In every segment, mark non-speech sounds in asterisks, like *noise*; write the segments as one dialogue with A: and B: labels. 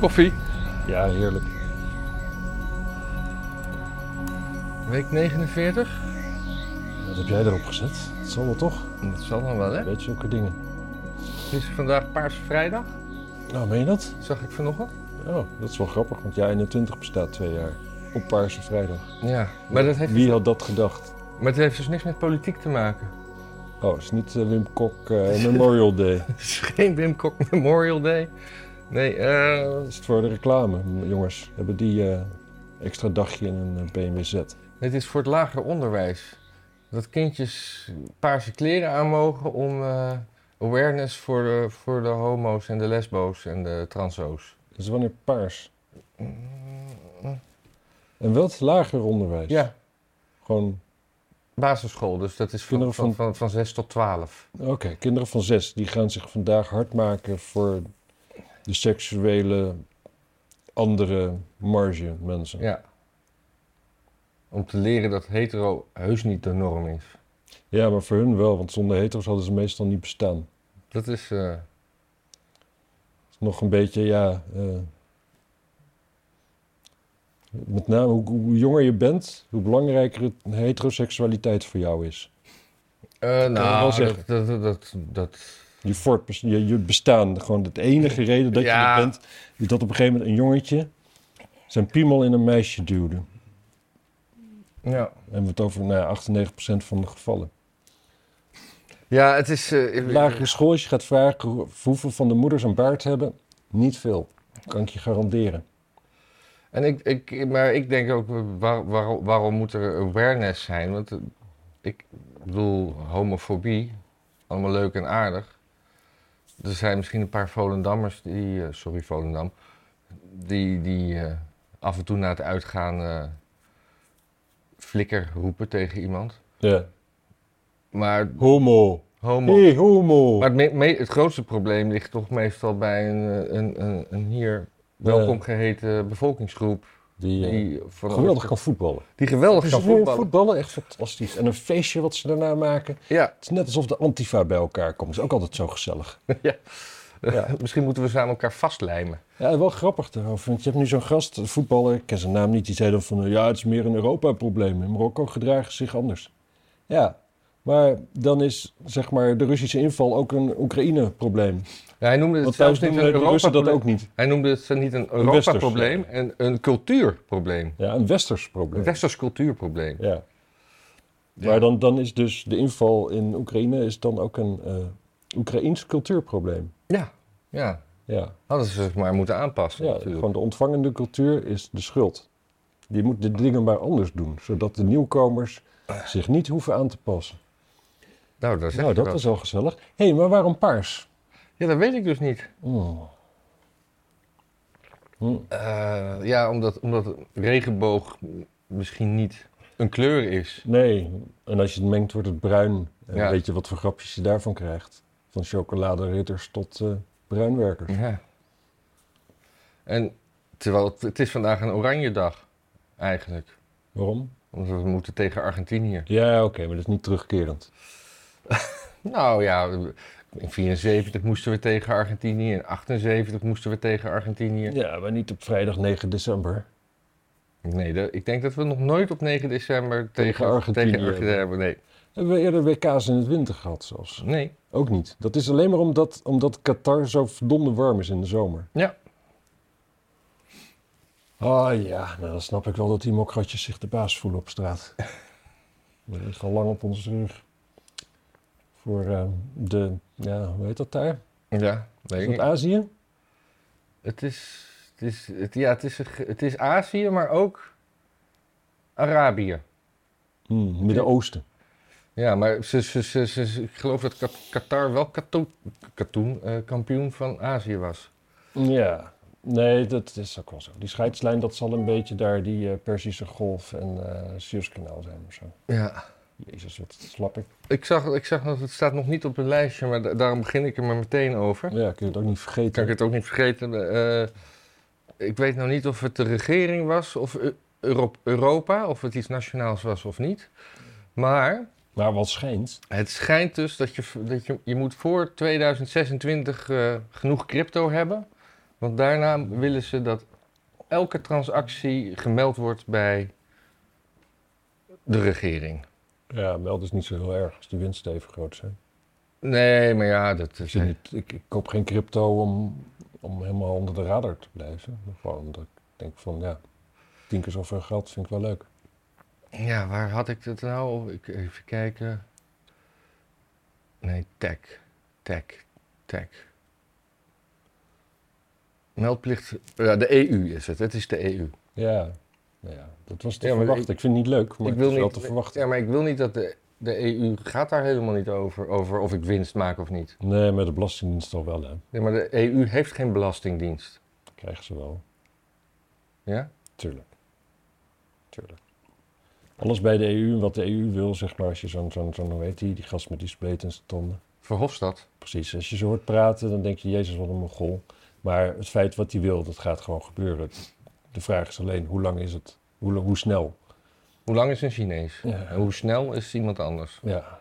A: Koffie?
B: Ja, heerlijk.
A: Week 49?
B: Wat heb jij erop gezet? Het zal wel toch?
A: Dat zal dan wel, hè?
B: Weet je zulke dingen.
A: Is vandaag Paarse Vrijdag?
B: Nou, meen je dat?
A: Zag ik vanochtend?
B: Oh, dat is wel grappig, want jij 21 bestaat twee jaar. Op Paarse Vrijdag.
A: Ja, maar dat heeft,
B: Wie had dat gedacht?
A: maar dat heeft dus niks met politiek te maken. *laughs*
B: Oh, het is niet eh, Wim Kok eh, Memorial *laughs* Day.
A: Het is geen Wim Kok Memorial Day. Nee, eh,
B: Dat is het voor de reclame, m- jongens. Hebben die eh, extra dagje in een eh, BMW Z.
A: dit is voor het lager onderwijs. Dat kindjes paarse kleren aan mogen om eh, awareness voor de, voor de homo's en de lesbo's en de transo's.
B: Dat is wanneer paars. Mm. En wel het lager onderwijs.
A: Ja,
B: Gewoon,
A: basisschool, dus dat is van,
B: Kinderen
A: van,
B: van-
A: van, van 6 tot 12.
B: oké, kinderen van zes, die gaan zich vandaag hard maken voor de seksuele andere marge mensen.
A: Ja. Om te leren dat hetero heus niet de norm is.
B: Ja, maar voor hun wel, want zonder hetero's hadden ze meestal niet bestaan.
A: Dat is. eh,
B: Het is Nog een beetje, ja. eh, met name hoe, hoe jonger je bent, hoe belangrijker het heteroseksualiteit voor jou is.
A: eh,
B: wel
A: nou, dat,
B: zeggen.
A: dat, dat, dat, dat-
B: Je, voortbes- je, je bestaan, gewoon de enige reden dat
A: Ja.
B: je er bent, is dat op een gegeven moment een jongetje zijn piemel in een meisje duwde. En
A: Ja.
B: we hebben het over nou, ja, 98% van de gevallen.
A: ja, het is. eh, ik-
B: Op lagere school, als je gaat vragen hoe- hoeveel van de moeders een baard hebben, niet veel. Kan ik je garanderen.
A: En ik, ik, maar ik denk ook, eh, waar, waar- waarom moet er awareness zijn? Want eh, ik bedoel, homofobie, allemaal leuk en aardig. Er zijn misschien een paar Volendammers die, eh, sorry Volendam, die, die eh, af en toe na het uitgaan eh, flikker roepen tegen iemand.
B: Ja.
A: Maar
B: Homo.
A: homo...
B: Hé, homo.
A: Maar het, me- me- het grootste probleem ligt toch meestal bij een, eh, een, een, een hier welkom geheten bevolkingsgroep.
B: Die, eh,
A: Die van-
B: geweldig kan voetballen.
A: Die geweldig
B: Dus
A: kan
B: voetballen.
A: voetballen.
B: voetballen, echt fantastisch. En een feestje wat ze daarna maken.
A: Ja,
B: Het is net alsof de Antifa bij elkaar komt. Dat is ook altijd zo *laughs* gezellig. Ja.
A: misschien moeten we ze aan elkaar vastlijmen.
B: Ja, wel grappig daarover. Want je hebt nu zo'n gast, een voetballer, ik ken zijn naam niet, die zei dan van... eh, Ja, het is meer een Europa-probleem. In Marokko gedragen ze zich anders. Ja, maar dan is zeg maar de Russische inval ook een Oekraïne-probleem.
A: Ja, hij noemde het
B: Want
A: zelfs
B: thuis
A: niet
B: doen
A: een
B: eh, de Russen dat ook
A: Europa-probleem.
B: niet.
A: Hij noemde het niet een Europa-probleem, en een cultuurprobleem.
B: Ja, een Westers probleem.
A: Een westers cultuurprobleem.
B: Ja.
A: Ja.
B: Maar dan, dan is dus de inval in Oekraïne is dan ook een eh Oekraïns cultuurprobleem.
A: Ja, ja.
B: Ja,
A: Hadden ze zich maar moeten aanpassen
B: ja
A: natuurlijk.
B: gewoon de ontvangende cultuur is de schuld. Die moet de dingen maar anders doen, zodat de nieuwkomers zich niet hoeven aan te passen.
A: Nou, daar zeg
B: Nou,
A: je
B: dat
A: wat.
B: was wel gezellig. Hé, hey, maar waarom paars?
A: Ja, dat weet ik dus niet.
B: Oh. Hm.
A: Eh, ja, omdat, omdat regenboog misschien niet een kleur is.
B: Nee, en als je het mengt wordt het bruin. En
A: Ja.
B: weet je wat voor grapjes je daarvan krijgt? Van chocoladeritters tot eh, bruinwerkers.
A: Ja. En terwijl het, het is vandaag een oranje dag, eigenlijk.
B: Waarom?
A: Omdat we moeten tegen Argentinië.
B: Ja, oké, maar dat is niet terugkerend.
A: Nou ja, in 74 moesten we tegen Argentinië, in 78 moesten we tegen Argentinië.
B: Ja, maar niet op vrijdag 9 december.
A: Nee, dat- ik denk dat we nog nooit op 9 december tegen,
B: Tegen Argentinië
A: tegen Argentinië hebben. Nee,
B: Hebben we eerder WK's in het winter gehad zelfs?
A: nee.
B: Ook niet. Dat is alleen maar omdat, omdat Qatar zo verdomde warm is in de zomer.
A: Ja.
B: Ah ja, nou dan snap ik wel dat die mokratjes zich de baas voelen
A: *laughs*
B: op straat. We liggen al lang op onze rug. Voor eh, de, ja, hoe heet dat daar?
A: Ja,
B: Is
A: weet
B: dat
A: ik.
B: Azië?
A: Het is, het is, het, ja, het is, een ge- het is Azië, maar ook Arabië.
B: Hmm, Midden-Oosten.
A: Ja, maar ze, ze, ze, ze- ze- ik geloof dat Kat- Qatar wel katoen, katoen, eh, kampioen van Azië was.
B: Ja, nee, dat is ook wel zo. Die scheidslijn, dat zal een beetje daar die eh, Perzische Golf en eh Suezkanaal zijn of zo.
A: Ja.
B: Jezus, wat slap ik.
A: Ik zag, ik zag dat het staat nog niet op het lijstje, maar da- daarom begin ik er maar meteen over.
B: Ja, kun je het ook niet vergeten.
A: Kan ik het ook niet vergeten. eh, ik weet nou niet of het de regering was of Eu- Euro- Europa, of het iets nationaals was of niet. Maar
B: Maar wat schijnt,
A: het schijnt dus dat je, v- dat je, je moet voor 2026 eh, genoeg crypto hebben Want daarna willen ze dat elke transactie gemeld wordt bij de regering.
B: Ja, meld is niet zo heel erg als de winsten even groot zijn.
A: Nee, maar ja, dat
B: Ik,
A: is...
B: zit niet, ik, ik koop geen crypto om, om helemaal onder de radar te blijven. Maar Gewoon omdat ik denk van ja, tien keer zoveel geld vind ik wel leuk.
A: Ja, waar had ik dat nou? Ik, even kijken. Nee, tech. Tech. Tech. Meldplicht. Ja, de EU is het. Het is de E EU.
B: Ja, nou ja dat was te
A: Ja, maar
B: verwachten. Ik,
A: ik-
B: vind het niet leuk, maar
A: ik
B: ik
A: wil
B: wil het is wel
A: niet-
B: te verwachten.
A: Ja, maar ik wil niet dat de, de EU gaat daar helemaal niet over, over of ik winst maak of niet.
B: Nee, met de belastingdienst al wel hè.
A: Nee, maar de EU heeft geen belastingdienst.
B: Krijgen ze wel.
A: Ja?
B: Tuurlijk. Tuurlijk. Alles bij de EU, wat de EU wil, zeg maar, als je zo'n, zo'n, zo'n hoe heet die, die gast met die spleet in zijn tanden.
A: Verhofstadt.
B: Precies, als je ze hoort praten, dan denk je, jezus, wat een mongool. Maar het feit wat hij wil, dat gaat gewoon gebeuren. De vraag is alleen, hoe lang is het? Hoe, lang- hoe snel?
A: Hoe lang is een Chinees?
B: Ja.
A: En hoe snel is iemand anders?
B: Ja.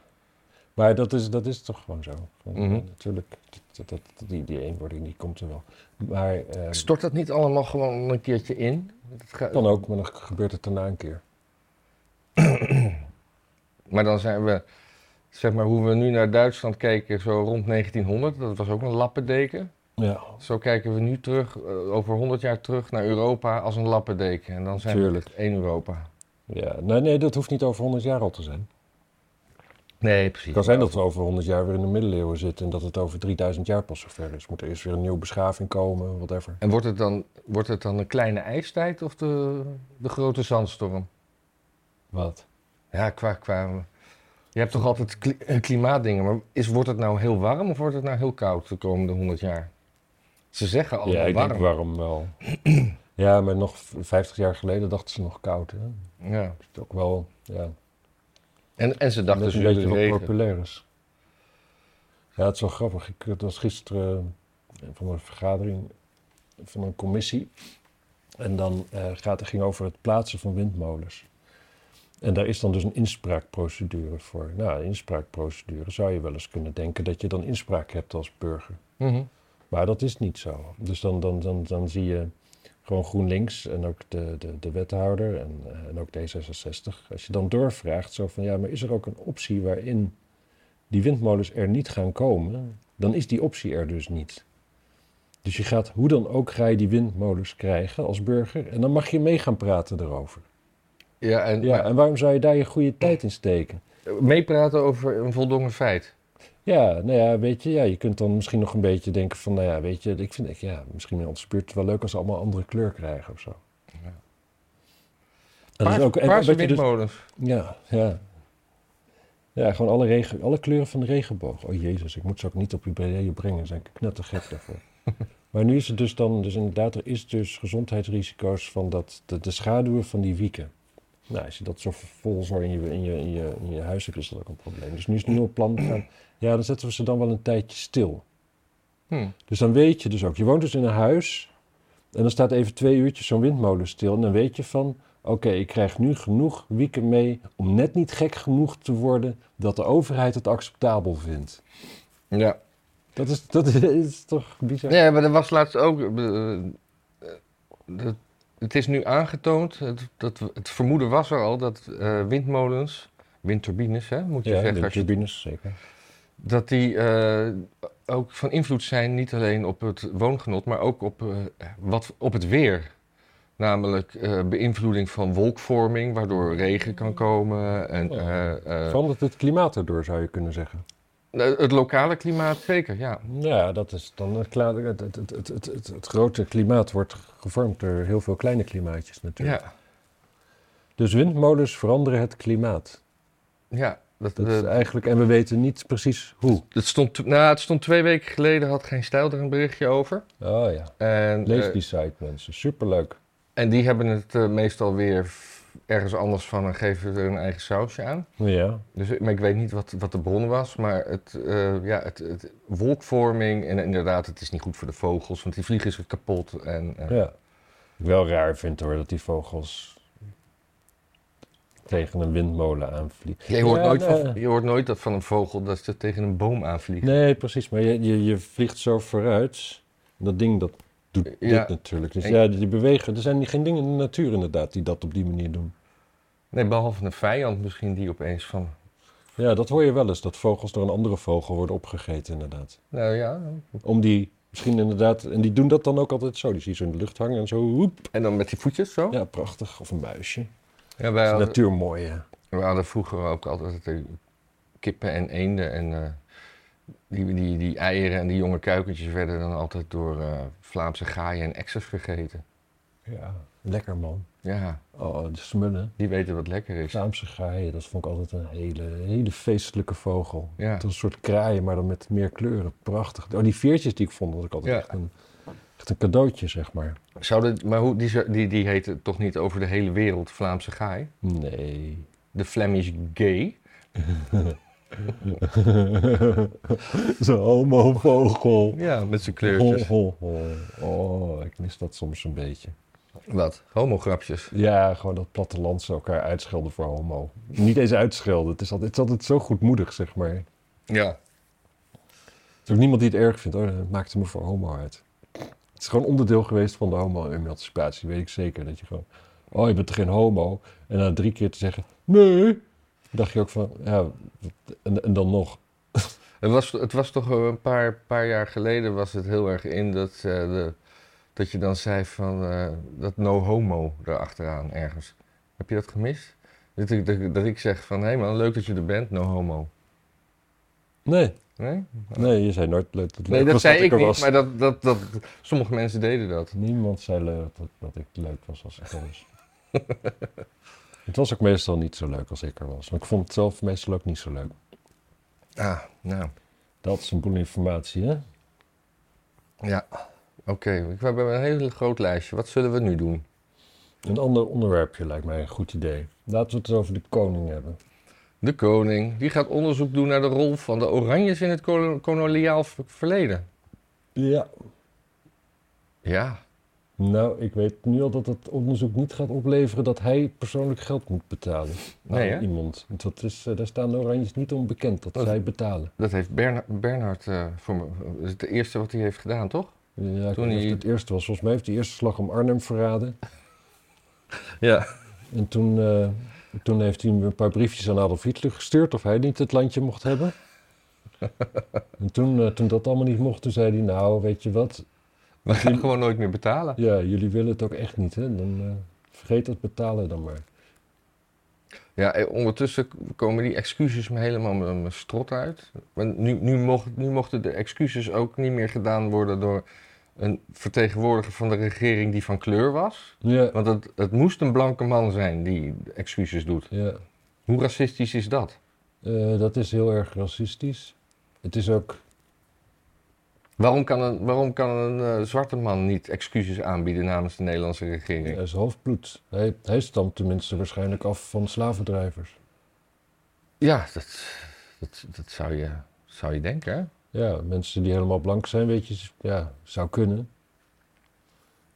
B: Maar dat is, dat is toch gewoon zo. Gewoon,
A: Mhm.
B: eh, Natuurlijk, dat, dat, dat- die, die eenwording die komt er wel. Maar eh,
A: Stort dat niet allemaal gewoon een keertje in? Dat ga-
B: kan ook, maar dan gebeurt het daarna een keer.
A: Maar dan zijn we, zeg maar, hoe we nu naar Duitsland kijken, zo rond 1900, dat was ook een lappendeken.
B: Ja,
A: Zo kijken we nu terug, eh, over 100 jaar terug, naar Europa als een lappendeken. En dan zijn
B: Tuurlijk.
A: we één Europa.
B: ja. Nee, nee, dat hoeft niet over 100 jaar al te zijn.
A: Nee, precies.
B: Het kan zijn dat we over 100 jaar weer in de middeleeuwen zitten en dat het over 3000 jaar pas zover is. Moet er eerst weer een nieuwe beschaving komen, whatever.
A: En wordt het, dan, wordt het dan een kleine ijstijd of de, de grote zandstorm?
B: Wat?
A: Ja, qua, qua... Je hebt toch altijd kli- eh, klimaatdingen, maar is, wordt het nou heel warm of wordt het nou heel koud de komende 100 jaar? Ze zeggen allemaal
B: ja, ik
A: warm.
B: denk waarom wel. *clears throat* ja, maar nog v- 50 jaar geleden dachten ze nog koud. Hè? Dat
A: Ja.
B: is ook wel, ja,
A: En, en ze
B: dat
A: dachten
B: is een
A: zure
B: beetje wat
A: regen.
B: populair is. Ja, het is wel grappig. Ik het was gisteren eh, van een vergadering van een commissie. En dan eh, gaat, het ging over het plaatsen van windmolens. En daar is dan dus een inspraakprocedure voor. Nou, een inspraakprocedure zou je wel eens kunnen denken dat je dan inspraak hebt als burger.
A: Mhm.
B: Maar dat is niet zo. Dus dan, dan, dan, dan zie je gewoon GroenLinks en ook de, de, de wethouder en, eh, en ook D66. Als je dan doorvraagt, zo van ja, maar is er ook een optie waarin die windmolens er niet gaan
A: Mhm.
B: komen? Dan is die optie er dus niet. Dus je gaat hoe dan ook ga je die windmolens krijgen als burger en dan mag je mee gaan praten erover.
A: Ja, en,
B: Ja, en waarom zou je daar je goede tijd in steken?
A: meepraten over een voldongen feit.
B: Ja, nou ja, weet je, ja, je kunt dan misschien nog een beetje denken van, nou ja, weet je, ik vind, ik, ja, misschien in onze buurt wel leuk als ze allemaal andere kleur krijgen of zo.
A: Ja.
B: En dat is ook- en
A: paarse
B: wat je dus-
A: windmolens.
B: ja, ja. Ja, gewoon alle, regen, alle kleuren van de regenboog. Oh jezus, ik moet ze ook niet op ideeën brengen, zijn ik net te gek daarvoor. maar nu is het dus dan, dus inderdaad, er is dus gezondheidsrisico's van dat, de, de schaduwen van die wieken. Nou, als je dat zo vol zo in je, in je, in je, in je huis hebt, is dat ook een probleem. Dus nu is het nu op plan gaan, ja, dan zetten we ze dan wel een tijdje stil.
A: Hm.
B: Dus dan weet je dus ook. Je woont dus in een huis en dan staat even twee uurtjes zo'n windmolen stil. En dan weet je van, oké, ik krijg nu genoeg wieken mee om net niet gek genoeg te worden dat de overheid het acceptabel vindt.
A: Ja.
B: Dat is, dat is toch bizar?
A: Nee, maar er was laatst ook... eh, eh, dat- het is nu aangetoond, het, dat, het vermoeden was er al, dat eh, windmolens, windturbines, hè, moet je
B: Ja,
A: zeggen,
B: de
A: als je-
B: turbines, zeker.
A: dat die eh, ook van invloed zijn, niet alleen op het woongenot, maar ook op, eh, wat, op het weer. Namelijk eh, beïnvloeding van wolkvorming, waardoor regen kan komen. En, eh, eh,
B: Verandert het klimaat erdoor, zou je kunnen zeggen.
A: Eh, Het lokale klimaat, zeker, ja.
B: Ja, dat is dan het, kla- het, het, het, het, het, het- het grote klimaat wordt gevormd door heel veel kleine klimaatjes natuurlijk.
A: Ja,
B: Dus windmolens veranderen het klimaat.
A: ja dat,
B: Dat is
A: eh,
B: eigenlijk, en we weten niet precies hoe.
A: dat stond, to- nou, het stond twee weken geleden, had geen stijl er een berichtje over.
B: Oh ja.
A: En,
B: Lees
A: eh,
B: die site, mensen. Superleuk.
A: en die hebben het eh, meestal weer f- ergens anders van en geven er een eigen sausje aan.
B: Ja.
A: Dus, maar ik weet niet wat, wat de bron was, maar het, eh, ja, het, het wolkvorming en inderdaad, het is niet goed voor de vogels, want die vliegen zich kapot. En, eh,
B: ja. Ik wel raar vind hoor, dat die vogels tegen een windmolen aanvliegen.
A: je, hoort
B: Ja,
A: nooit
B: nee.
A: van, je hoort nooit dat van een vogel dat ze tegen een boom aanvliegt.
B: Nee, precies. Maar je, je, je vliegt zo vooruit. En Dat ding dat doet
A: Ja.
B: dit natuurlijk niet.
A: Ik-
B: Ja, die bewegen. Er zijn geen dingen in de natuur inderdaad die dat op die manier doen.
A: Nee, behalve een vijand misschien die opeens van...
B: Ja, dat hoor je wel eens. Dat vogels door een andere vogel worden opgegeten inderdaad.
A: Nou ja,
B: Om die misschien inderdaad... En die doen dat dan ook altijd zo. Die zie je zo in de lucht hangen en zo. Woep.
A: en dan met die voetjes zo.
B: Ja, prachtig. Of een muisje.
A: Ja,
B: Dat
A: wij,
B: is
A: hadden,
B: natuurmooi, ja.
A: wij hadden vroeger ook altijd eh, kippen en eenden. En eh, die, die, die eieren en die jonge kuikentjes werden dan altijd door eh, Vlaamse gaaien en exers gegeten.
B: Ja, lekker man.
A: Ja,
B: Oh, de smullen.
A: die weten wat lekker is.
B: Saamse gaaien, dat vond ik altijd een hele, hele feestelijke vogel.
A: Ja.
B: Het was een soort kraaien, maar dan met meer kleuren. Prachtig. Oh, die veertjes die ik vond, dat ik altijd
A: Ja.
B: echt, een, echt een cadeautje, zeg maar.
A: Zouden, maar hoe, die, zou- die, die heten toch niet over de hele wereld Vlaamse gaai?
B: Nee. *laughs*
A: De Flemish gay?
B: Zo'n homovogel.
A: Ja, met zijn
B: Ho,
A: kleurtjes.
B: ho, ho. Oh, ik mis dat soms een beetje.
A: Wat? Homograpjes.
B: Ja, gewoon dat plattelandse elkaar uitschelden voor homo. Niet eens uitschelden. Het is altijd, het is altijd zo goedmoedig, zeg maar. Er
A: Ja.
B: is ook niemand die het erg vindt. Oh, dat maakte me voor homo uit. Het is gewoon onderdeel geweest van de homo-emancipatie, weet ik zeker. Dat je gewoon, oh, je bent toch geen homo? En dan drie keer te zeggen, nee. Dan dacht je ook van, ja, wat- en, en dan nog.
A: Het was, het was toch een paar, paar jaar geleden was het heel erg in dat, eh, de, dat je dan zei van eh, dat no homo erachteraan ergens. Heb je dat gemist? Dat ik, dat, dat ik zeg van hé hey man, leuk dat je er bent, no homo.
B: Nee,
A: Nee,
B: nee, je zei nooit leuk dat,
A: nee
B: leuk
A: dat
B: was
A: zei ik
B: er
A: niet,
B: was.
A: maar dat, dat, dat, sommige mensen deden dat.
B: Niemand zei leuk dat, dat ik leuk was als ik er
A: *laughs*
B: was. het was ook meestal niet zo leuk als ik er was. Want ik vond het zelf meestal ook niet zo leuk.
A: Ah, nou,
B: Dat is een boel informatie, hè?
A: ja. Oké, ik we hebben een heel groot lijstje. Wat zullen we nu doen?
B: Een ander onderwerpje lijkt mij een goed idee. Laten we het over de koning hebben.
A: De koning, die gaat onderzoek doen naar de rol van de Oranjes in het kolo- koloniaal v- verleden.
B: Ja.
A: Ja,
B: Nou, ik weet nu al dat het onderzoek niet gaat opleveren dat hij persoonlijk geld moet betalen. Aan
A: Nee, hè? Oh.
B: iemand. Want dat is, eh, daar staan de Oranjes niet onbekend dat
A: Dat-
B: zij betalen.
A: dat heeft Berna- Bernhard eh, voor me. Dat is het eerste wat hij heeft gedaan, toch?
B: Ja, ik
A: Toen
B: weet niet of
A: hij-
B: het het eerste was. Volgens mij heeft hij eerst de slag om Arnhem verraden.
A: Ja.
B: En toen, eh, toen heeft hij een paar briefjes aan Adolf Hitler gestuurd of hij niet het landje mocht
A: *laughs*
B: hebben. en toen, eh, toen dat allemaal niet mocht, toen zei hij, nou weet je wat,
A: We gaan gewoon nooit meer betalen.
B: ja, jullie willen het ook echt niet, hè? dan eh, vergeet dat betalen dan maar.
A: Ja, eh, ondertussen k- komen die excuses me helemaal mijn mijn strot uit. Want nu, nu, mocht, nu mochten de excuses ook niet meer gedaan worden door een vertegenwoordiger van de regering die van kleur was.
B: Ja,
A: Want het, het moest een blanke man zijn die excuses doet.
B: ja.
A: Hoe racistisch is dat?
B: Eh, dat is heel erg racistisch. Het is ook,
A: Waarom kan een, waarom kan een eh, zwarte man niet excuses aanbieden namens de Nederlandse regering?
B: hij is halfbloed. Hij, hij stamt tenminste waarschijnlijk af van slavendrijvers.
A: Ja, dat, dat, dat zou, je, zou je denken. Hè?
B: Ja, mensen die helemaal blank zijn, weet je, ja, zou kunnen.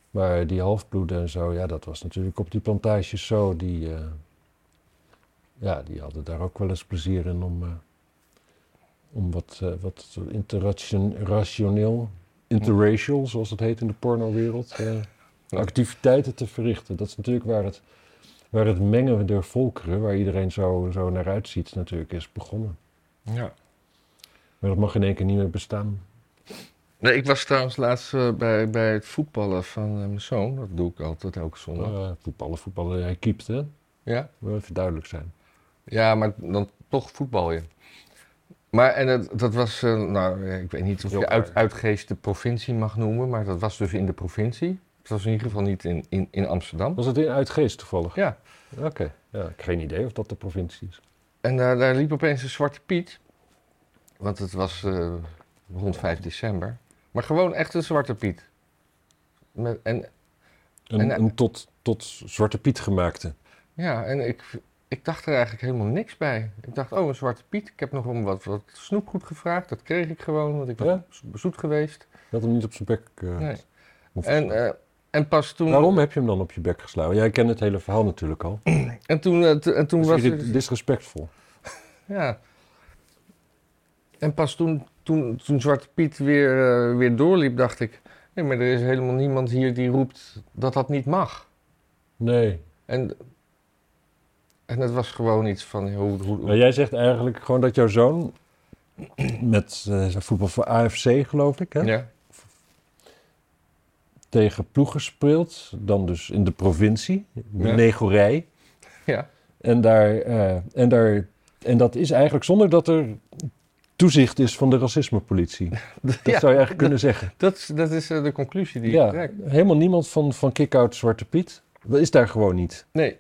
B: Maar die halfbloeden en zo, ja, dat was natuurlijk op die plantages zo. Die, eh, ja, die hadden daar ook wel eens plezier in om, eh, om wat, eh, wat interration- rationeel, interracial, zoals het heet in de pornowereld, eh, activiteiten te verrichten. Dat is natuurlijk waar het, waar het mengen der volkeren, waar iedereen zo, zo naar uitziet, natuurlijk is begonnen.
A: Ja.
B: Maar dat mag in één keer niet meer bestaan.
A: Nee, ik was trouwens laatst eh, bij, bij het voetballen van eh, mijn zoon. Dat doe ik altijd elke zondag.
B: Eh, voetballen, voetballen. Hij keept, hè?
A: Ja?
B: Wil even duidelijk zijn.
A: ja, maar dan toch voetbal je. Maar en dat, dat was, eh, nou, ik weet niet of
B: Heel
A: je uit,
B: raar.
A: uitgeest de provincie mag noemen, maar dat was dus in de provincie. Het was in ieder geval niet in, in, in Amsterdam.
B: Was het in Uitgeest toevallig?
A: Ja,
B: Oké. Ja, ik heb geen idee of dat de provincie is.
A: En daar, daar liep opeens een zwarte Piet. Want het was eh, rond 5 december. Maar gewoon echt een zwarte Piet. Met, en
B: Een,
A: En, eh,
B: een tot, tot Zwarte Piet gemaakte.
A: ja, en ik, ik dacht er eigenlijk helemaal niks bij. Ik dacht, oh, een zwarte Piet. Ik heb nog om wat, wat snoepgoed gevraagd. Dat kreeg ik gewoon, want ik was
B: Ja?
A: zo- zoet geweest.
B: Je had hem niet op zijn bek eh,
A: Nee.
B: hoeven
A: En,
B: te slaan.
A: eh, en pas toen.
B: Waarom heb je hem dan op je bek geslagen? Jij kent het hele verhaal natuurlijk al.
A: En toen, eh, t- en toen
B: Dus
A: was
B: dit
A: er-
B: disrespectvol.
A: Ja. En pas toen, toen, toen Zwarte Piet weer, eh, weer doorliep, dacht ik... Nee, maar er is helemaal niemand hier die roept dat dat niet mag.
B: Nee.
A: En, en het was gewoon iets van hoe. hoe
B: Maar jij zegt eigenlijk gewoon dat jouw zoon met eh, zijn voetbal voor AFC, geloof ik, hè?
A: ja.
B: tegen ploegen speelt. Dan dus in de provincie,
A: Ja.
B: Negorij.
A: Ja.
B: En, daar, eh, en, daar, en dat is eigenlijk zonder dat er toezicht is van de
A: *laughs*
B: racismepolitie. Dat
A: Ja,
B: zou je eigenlijk
A: *laughs*
B: kunnen zeggen.
A: dat, is- dat is eh, de conclusie die ik
B: Ja,
A: trek.
B: helemaal niemand van, van kick-out Zwarte Piet. Dat is daar gewoon niet.
A: Nee.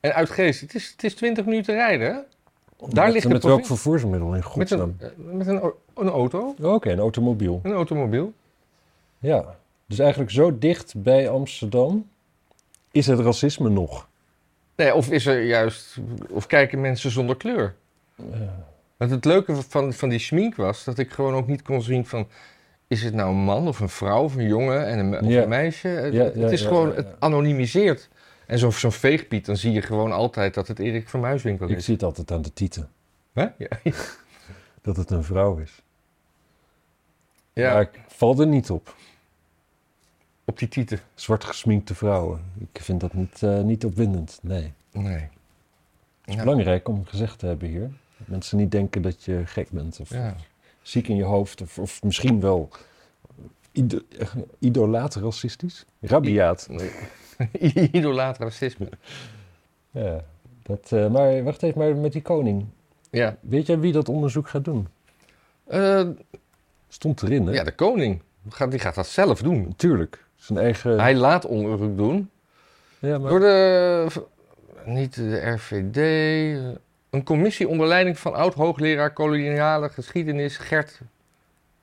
A: En uit Geest, het is, het is 20 minuten rijden. hè? Daar
B: met,
A: ligt het
B: Met welk
A: probleem.
B: vervoersmiddel in
A: Met,
B: godsnaam?
A: een, eh, met een, au- een auto,
B: Oké, een automobiel.
A: een automobiel.
B: Ja, dus eigenlijk zo dicht bij Amsterdam is het racisme nog.
A: Nee, of is er juist, of kijken mensen zonder kleur. Want het leuke van, van die schmink was dat ik gewoon ook niet kon zien van... is het nou een man of een vrouw of een jongen en een, me- of
B: Ja.
A: een meisje? Het,
B: Ja,
A: het
B: ja,
A: is
B: ja,
A: gewoon,
B: ja, ja.
A: het anonimiseert. En zo- zo'n veegpiet, dan zie je gewoon altijd dat het Erik van Muiswinkel
B: Ik
A: is.
B: zie het altijd aan de titel,
A: Hè? Ja.
B: dat het een vrouw is.
A: Ja,
B: Maar ik val er niet op.
A: op die tieten.
B: Zwart gesminkte vrouwen. Ik vind dat niet, eh, niet opwindend, nee.
A: Nee.
B: Het is
A: Ja.
B: belangrijk om gezegd te hebben hier. Dat Mensen niet denken dat je gek bent of
A: Ja.
B: ziek in je hoofd. Of, of misschien wel ido- eh, idolaat racistisch. Rabiaat.
A: Nee. *laughs* Idolaat racisme.
B: Ja, dat, eh, maar wacht even, maar met die koning.
A: Ja.
B: Weet jij wie dat onderzoek gaat doen?
A: Eh,
B: Stond erin, hè?
A: ja, de koning. Gaat- Die gaat dat zelf doen.
B: Natuurlijk. Zijn eigen...
A: Hij laat onderzoek doen.
B: Ja, maar...
A: Door de, niet de RVD, een commissie onder leiding van oud-hoogleraar koloniale geschiedenis Gert,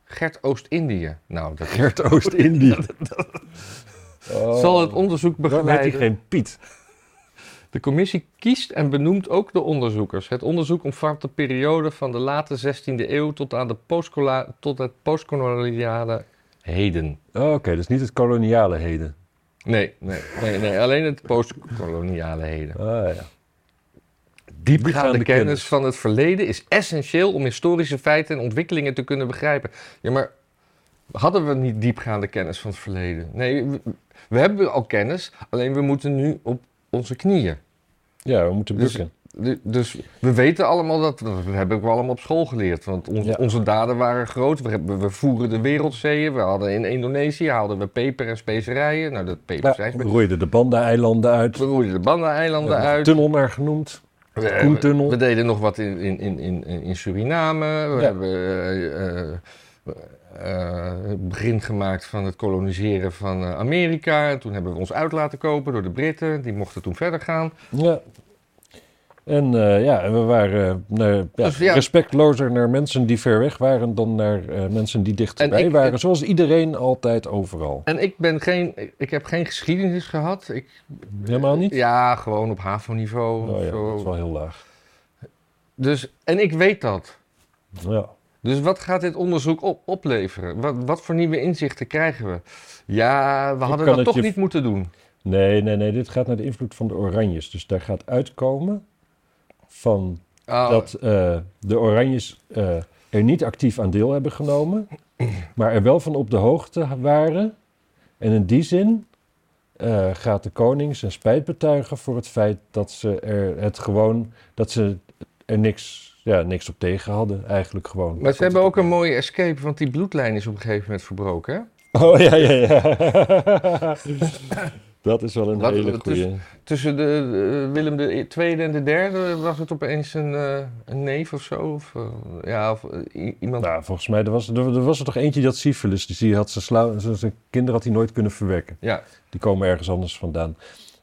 A: Gert Oost-Indië. Nou, dat
B: Gert *laughs* Oost-Indië. Oh.
A: Oh. zal het onderzoek
B: begeleiden.
A: begeleiden.
B: hij geen Piet.
A: De commissie kiest en benoemt ook de onderzoekers. Het onderzoek omvat de periode van de late 16e eeuw tot aan de postcola- tot het postkoloniale heden.
B: Oh, Oké, dus niet het koloniale heden.
A: Nee, nee, nee, nee, alleen het postkoloniale heden.
B: Ah, ja.
A: Diepgaande
B: Diepgaande
A: kennis,
B: kennis.
A: van het verleden is essentieel om historische feiten en ontwikkelingen te kunnen begrijpen. Ja, maar hadden we niet diepgaande kennis van het verleden? Nee, we, we hebben al kennis, alleen we moeten nu op onze knieën.
B: Ja, we moeten
A: Dus-
B: bukken.
A: Du- Dus we weten allemaal dat, dat hebben we allemaal op school geleerd. Want on-
B: Ja.
A: onze daden waren groot. We, hebben- we voeren de wereldzeeën. We hadden in Indonesië haalden we peper en specerijen. Nou, dat peper zijn.
B: Nou, we roeiden de Banda-eilanden uit.
A: We roeiden de Banda-eilanden
B: We hebben
A: uit.
B: Tunnel naar genoemd.
A: We,
B: Koentunnel.
A: we deden nog wat in, in, in, in, in Suriname. We
B: Ja.
A: hebben eh, eh, eh, het begin gemaakt van het koloniseren van eh, Amerika. Toen hebben we ons uit laten kopen door de Britten. Die mochten toen verder gaan.
B: Ja. En eh, ja, en we waren eh, naar, ja,
A: Dus ja.
B: respectlozer naar mensen die ver weg waren dan naar eh, mensen die dichterbij
A: En ik-
B: waren. Zoals iedereen altijd overal.
A: En ik, ben geen, ik heb geen geschiedenis gehad. Ik,
B: Helemaal niet?
A: ja, gewoon op HAVO-niveau.
B: Oh
A: of
B: ja,
A: zo.
B: dat is wel heel laag.
A: dus, en ik weet dat.
B: Ja.
A: Dus wat gaat dit onderzoek op, opleveren? Wat, wat voor nieuwe inzichten krijgen we? Ja, we hadden
B: kan
A: dat
B: het
A: toch
B: je-
A: niet moeten doen.
B: Nee, nee, nee. Dit gaat naar de invloed van de Oranjes. Dus daar gaat uitkomen van
A: Ah,
B: dat eh, de Oranjes eh, er niet actief aan deel hebben genomen, maar er wel van op de hoogte waren. En in die zin eh, gaat de koning zijn spijt betuigen voor het feit dat ze er het gewoon dat ze er niks, ja, niks op tegen hadden, eigenlijk gewoon.
A: Maar ze hebben ook een mooie escape, want die bloedlijn is op een gegeven moment verbroken. Hè?
B: *laughs* Oh ja, ja, *laughs* ja. dat is wel een
A: Wat-
B: hele
A: wat
B: goeie.
A: Tussen de, eh, Willem de Tweede en de Derde was het opeens een, eh, een neef of zo. Of, eh, ja, of eh, i- iemand.
B: Nou, volgens mij er was er, er was er toch eentje die had syfilis, dus die had zijn, sla- zijn- zijn kinderen had hij nooit kunnen verwekken.
A: Ja,
B: Die komen ergens anders vandaan.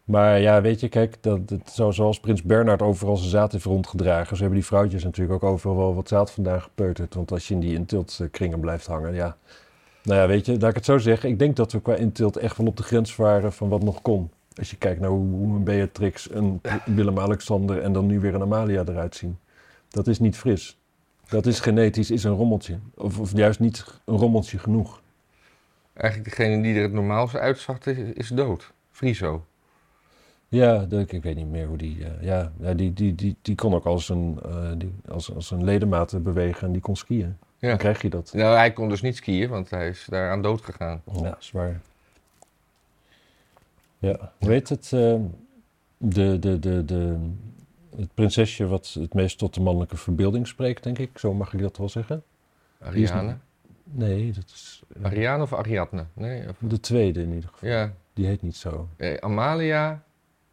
B: Maar ja, weet je, kijk, dat, dat, zo, zoals Prins Bernhard overal zijn zaad heeft rondgedragen, zo hebben die vrouwtjes natuurlijk ook overal wel wat zaad vandaan gepeuterd. Want als je in die intiltkringen blijft hangen, ja. Nou ja, weet je, laat ik het zo zeggen. Ik denk dat we qua intilt echt wel op de grens waren van wat nog kon. Als je kijkt naar hoe, hoe een Beatrix, een Willem-Alexander en dan nu weer een Amalia eruit zien. Dat is niet fris. Dat is genetisch, is een rommeltje. Of, of juist niet een rommeltje genoeg.
A: eigenlijk degene die er het normaalste uitzag, is, is dood. Friso.
B: Ja, de- ik, ik weet niet meer hoe die. eh, ja, ja die, die, die, die kon ook als een, eh, die, als, als een ledemaat bewegen en die kon skiën.
A: Ja.
B: Dan krijg je dat.
A: Nou, hij kon dus niet skiën, want hij is daaraan dood gegaan.
B: Ja, zwaar. Ja, weet het, eh, de, de, de, de, het prinsesje wat het meest tot de mannelijke verbeelding spreekt, denk ik. Zo mag ik dat wel zeggen. is
A: Ariane?
B: Nee, dat is eh,
A: Ariane of Ariadne? Nee, of-
B: de tweede in ieder geval.
A: ja.
B: Die heet niet zo.
A: Eh, Amalia?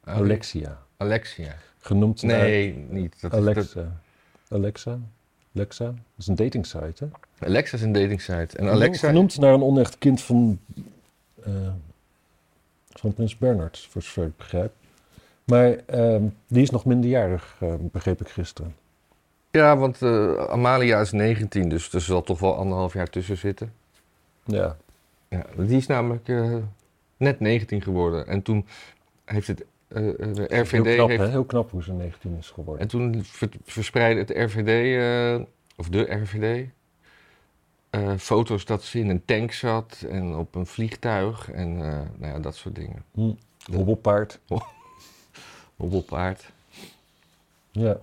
A: Ari-
B: Alexia.
A: Alexia.
B: Genoemd naar
A: Nee, niet. Dat is- dat-
B: Alexa. Alexa? Alexa? Dat is een datingsite, hè?
A: Alexa is een datingsite. En Alexa...
B: Genoemd naar een onecht kind van, eh, van prins Bernard, voor zover ik begrijp. Maar ehm, die is nog minderjarig, eh, begreep ik gisteren.
A: Ja, want eh, Amalia is 19, dus er zal toch wel anderhalf jaar tussen zitten.
B: Ja.
A: Ja, die is namelijk eh, net 19 geworden. En toen heeft het eh, eh, de RVD.
B: Heel knap,
A: heeft,
B: hè? Heel knap hoe ze 19 is geworden.
A: en toen ver- verspreidde het RVD, eh, of de RVD, eh, foto's dat ze in een tank zat en op een vliegtuig en eh, nou ja, dat soort dingen.
B: Hobbelpaard.
A: Hobbelpaard.
B: Ja.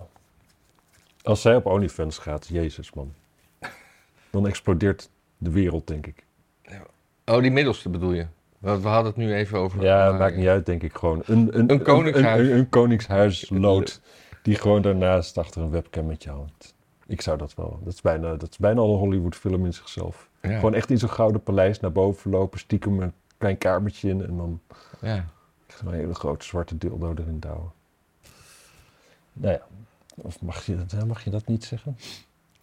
B: Als zij op OnlyFans gaat, jezus man. Dan explodeert de wereld, denk ik.
A: Oh, die middelste bedoel je? Want we hadden het nu even over.
B: Ja,
A: Amalia.
B: maakt niet uit, denk ik gewoon. Een,
A: eh,
B: een,
A: Een koningshuis.
B: Een, een, een
A: *laughs*
B: koningshuislood die gewoon daarnaast achter een webcam met je hangt. Ik zou dat wel. Dat is bijna, dat is bijna al een Hollywood film in zichzelf.
A: Ja,
B: Gewoon echt in zo'n gouden paleis naar boven lopen, stiekem een klein kamertje in en dan
A: ja.
B: echt een hele grote zwarte dildo erin douwen. Nou ja, of mag je, dat- mag je dat niet zeggen?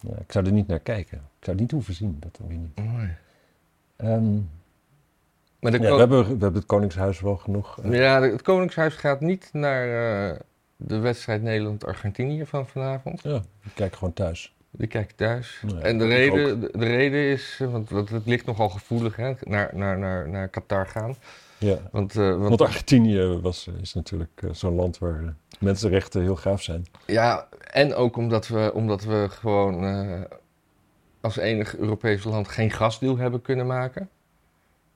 B: Ja, ik zou er niet naar kijken. Ik zou het niet hoeven zien, dat dan weer niet.
A: Mooi.
B: Ehm,
A: Maar de
B: ja, we,
A: ko-
B: hebben, we hebben het Koningshuis wel genoeg. eh,
A: Ja, de- het Koningshuis gaat niet naar eh, de wedstrijd Nederland-Argentinië van vanavond.
B: ja, we kijken gewoon thuis.
A: Die kijk ik thuis.
B: Nou ja,
A: en de
B: ik
A: reden, de, de reden is, eh, want, want het ligt nogal gevoelig, hè, naar, naar, naar, naar Qatar gaan.
B: Ja.
A: Want, eh, want,
B: Want Argentinië was, is natuurlijk eh, zo'n land waar eh, mensenrechten heel gaaf zijn.
A: ja, en ook omdat we, omdat we gewoon eh, als enig Europees land geen gasdeal hebben kunnen maken.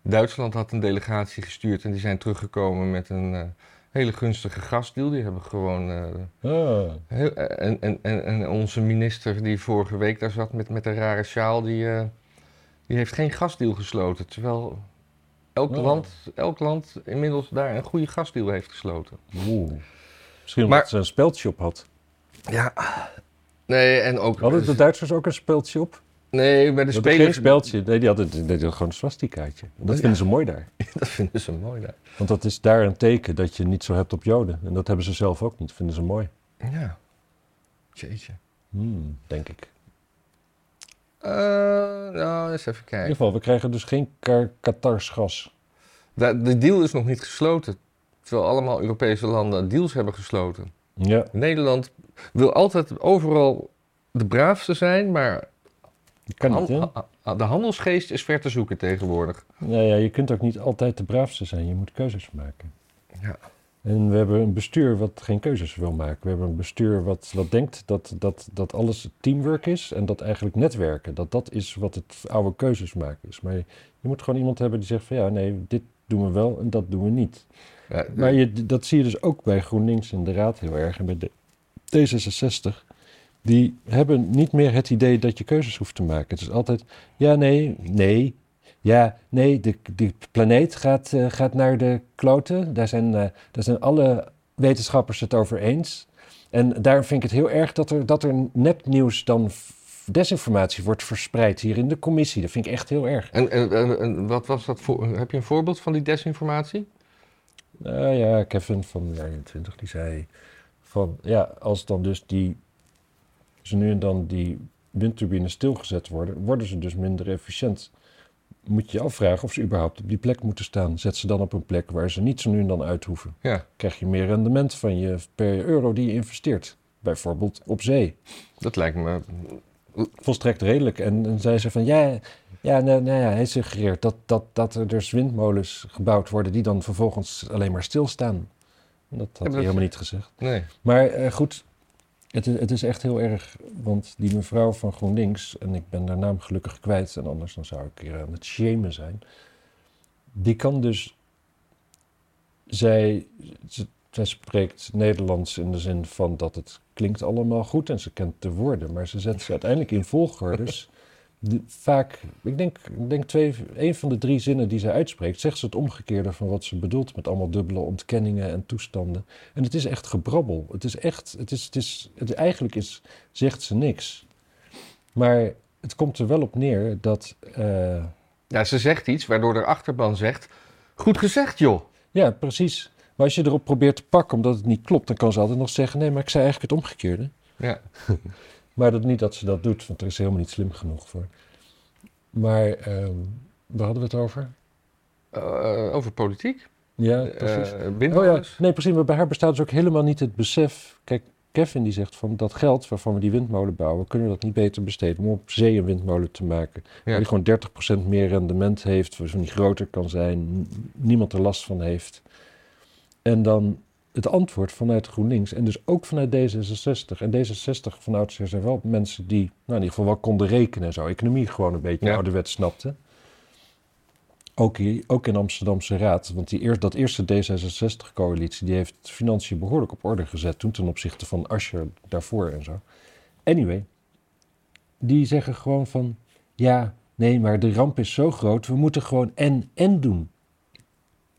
A: Duitsland had een delegatie gestuurd en die zijn teruggekomen met een eh, hele gunstige gasdeal. Die hebben gewoon eh,
B: Ah,
A: Heel- eh, en, en, en, en onze minister die vorige week daar zat met, met een rare sjaal, die, eh, die heeft geen gasdeal gesloten. Terwijl elk,
B: Oh.
A: land, elk land inmiddels daar een goede gasdeal heeft gesloten.
B: oeh. Misschien
A: Maar-
B: omdat ze een speldje op had.
A: Ja. Nee, en ook.
B: Hadden de Duitsers ook een speldje op?
A: nee, bij de
B: De geen
A: spelers. Oh,
B: speldje. Nee, die hadden, die hadden gewoon een swastikaatje. Dat
A: ja.
B: vinden ze mooi daar.
A: Dat vinden ze mooi daar.
B: Want dat is daar een teken dat je niet zo hebt op Joden. En dat hebben ze zelf ook niet. Vinden ze mooi.
A: Ja. Jeetje.
B: Hmm, denk ik.
A: Eh, nou, eens even
B: In
A: kijken.
B: ieder geval, we krijgen dus geen Kar- Qatars gas.
A: Da- De deal is nog niet gesloten. Terwijl allemaal Europese landen deals hebben gesloten.
B: Ja,
A: Nederland wil altijd overal de braafste zijn, maar
B: dat kan niet,
A: han-
B: hè?
A: ha- ha- de handelsgeest is ver te zoeken tegenwoordig.
B: Nou ja, je kunt ook niet altijd de braafste zijn. Je moet keuzes maken.
A: Ja.
B: En we hebben een bestuur wat geen keuzes wil maken. We hebben een bestuur wat, wat denkt dat, dat, dat alles teamwork is en dat eigenlijk netwerken. Dat dat is wat het oude keuzes maken is. Maar je, je moet gewoon iemand hebben die zegt van ja, nee, dit doen we wel en dat doen we niet.
A: Ja,
B: Maar je, dat zie je dus ook bij GroenLinks in de Raad heel erg en bij de D66. Die hebben niet meer het idee dat je keuzes hoeft te maken. Het is altijd ja, nee, nee. Ja, nee, de, de planeet gaat, eh, gaat naar de kloten. Daar zijn, eh, daar zijn alle wetenschappers het over eens. En daarom vind ik het heel erg dat er, dat er nepnieuws dan f- desinformatie wordt verspreid hier in de commissie. Dat vind ik echt heel erg.
A: en, en, en, en wat was dat voor? Heb je een voorbeeld van die desinformatie?
B: Nou ja, Kevin van de 21 die zei van ja, als dan dus die ze nu en dan die windturbines stilgezet worden, worden ze dus minder efficiënt. Moet je je afvragen of ze überhaupt op die plek moeten staan. Zet ze dan op een plek waar ze niet zo nu en dan uit hoeven.
A: Ja,
B: Krijg je meer rendement van je per euro die je investeert. Bijvoorbeeld op zee.
A: dat lijkt me.
B: Volstrekt redelijk. En, en zei ze van ja, ja, nou, nou ja hij suggereert dat, dat, dat er dus windmolens gebouwd worden die dan vervolgens alleen maar stilstaan. Dat had
A: maar
B: hij
A: dat-
B: helemaal niet gezegd.
A: Nee.
B: Maar eh, goed, het, i- het is echt heel erg, want die mevrouw van GroenLinks, en ik ben haar naam gelukkig kwijt, en anders dan zou ik hier aan het shamen zijn, die kan dus, zij, ze- zij spreekt Nederlands in de zin van dat het klinkt allemaal goed en ze kent de woorden, maar ze zet ze uiteindelijk in volgordes de- vaak, ik denk, ik denk twee, een van de drie zinnen die ze uitspreekt, zegt ze het omgekeerde van wat ze bedoelt met allemaal dubbele ontkenningen en toestanden. En het is echt gebrabbel. Het is echt, het is, het is, het, eigenlijk is, zegt ze niks. Maar het komt er wel op neer dat, eh,
A: Ja, ze zegt iets waardoor de achterban zegt: Goed gezegd, joh.
B: ja, precies. Maar als je erop probeert te pakken omdat het niet klopt, dan kan ze altijd nog zeggen: nee, maar ik zei eigenlijk het omgekeerde.
A: Ja.
B: *laughs* Maar dat, niet dat ze dat doet, want er is helemaal niet slim genoeg voor. Maar ehm, waar hadden we het over?
A: Eh, over politiek.
B: Ja, precies.
A: Eh, windmolens.
B: oh ja, nee, precies. Maar bij haar bestaat dus ook helemaal niet het besef. Kijk, Kevin die zegt van dat geld waarvan we die windmolen bouwen, kunnen we dat niet beter besteden om op zee een windmolen te maken.
A: Ja.
B: Die gewoon 30% meer rendement heeft, waarvan die groter kan zijn, n- niemand er last van heeft. En dan het antwoord vanuit GroenLinks en dus ook vanuit D66. En D66 van oudsher zijn wel mensen die nou, in ieder geval wel konden rekenen en zo. Economie gewoon een beetje
A: Ja.
B: ouderwet snapten. Ook, hier, ook in Amsterdamse Raad. Want die eerst, dat eerste D66-coalitie die heeft financiën behoorlijk op orde gezet. Toen ten opzichte van Asscher daarvoor en zo. Anyway, die zeggen gewoon van... Ja, nee, maar de ramp is zo groot. We moeten gewoon en en doen.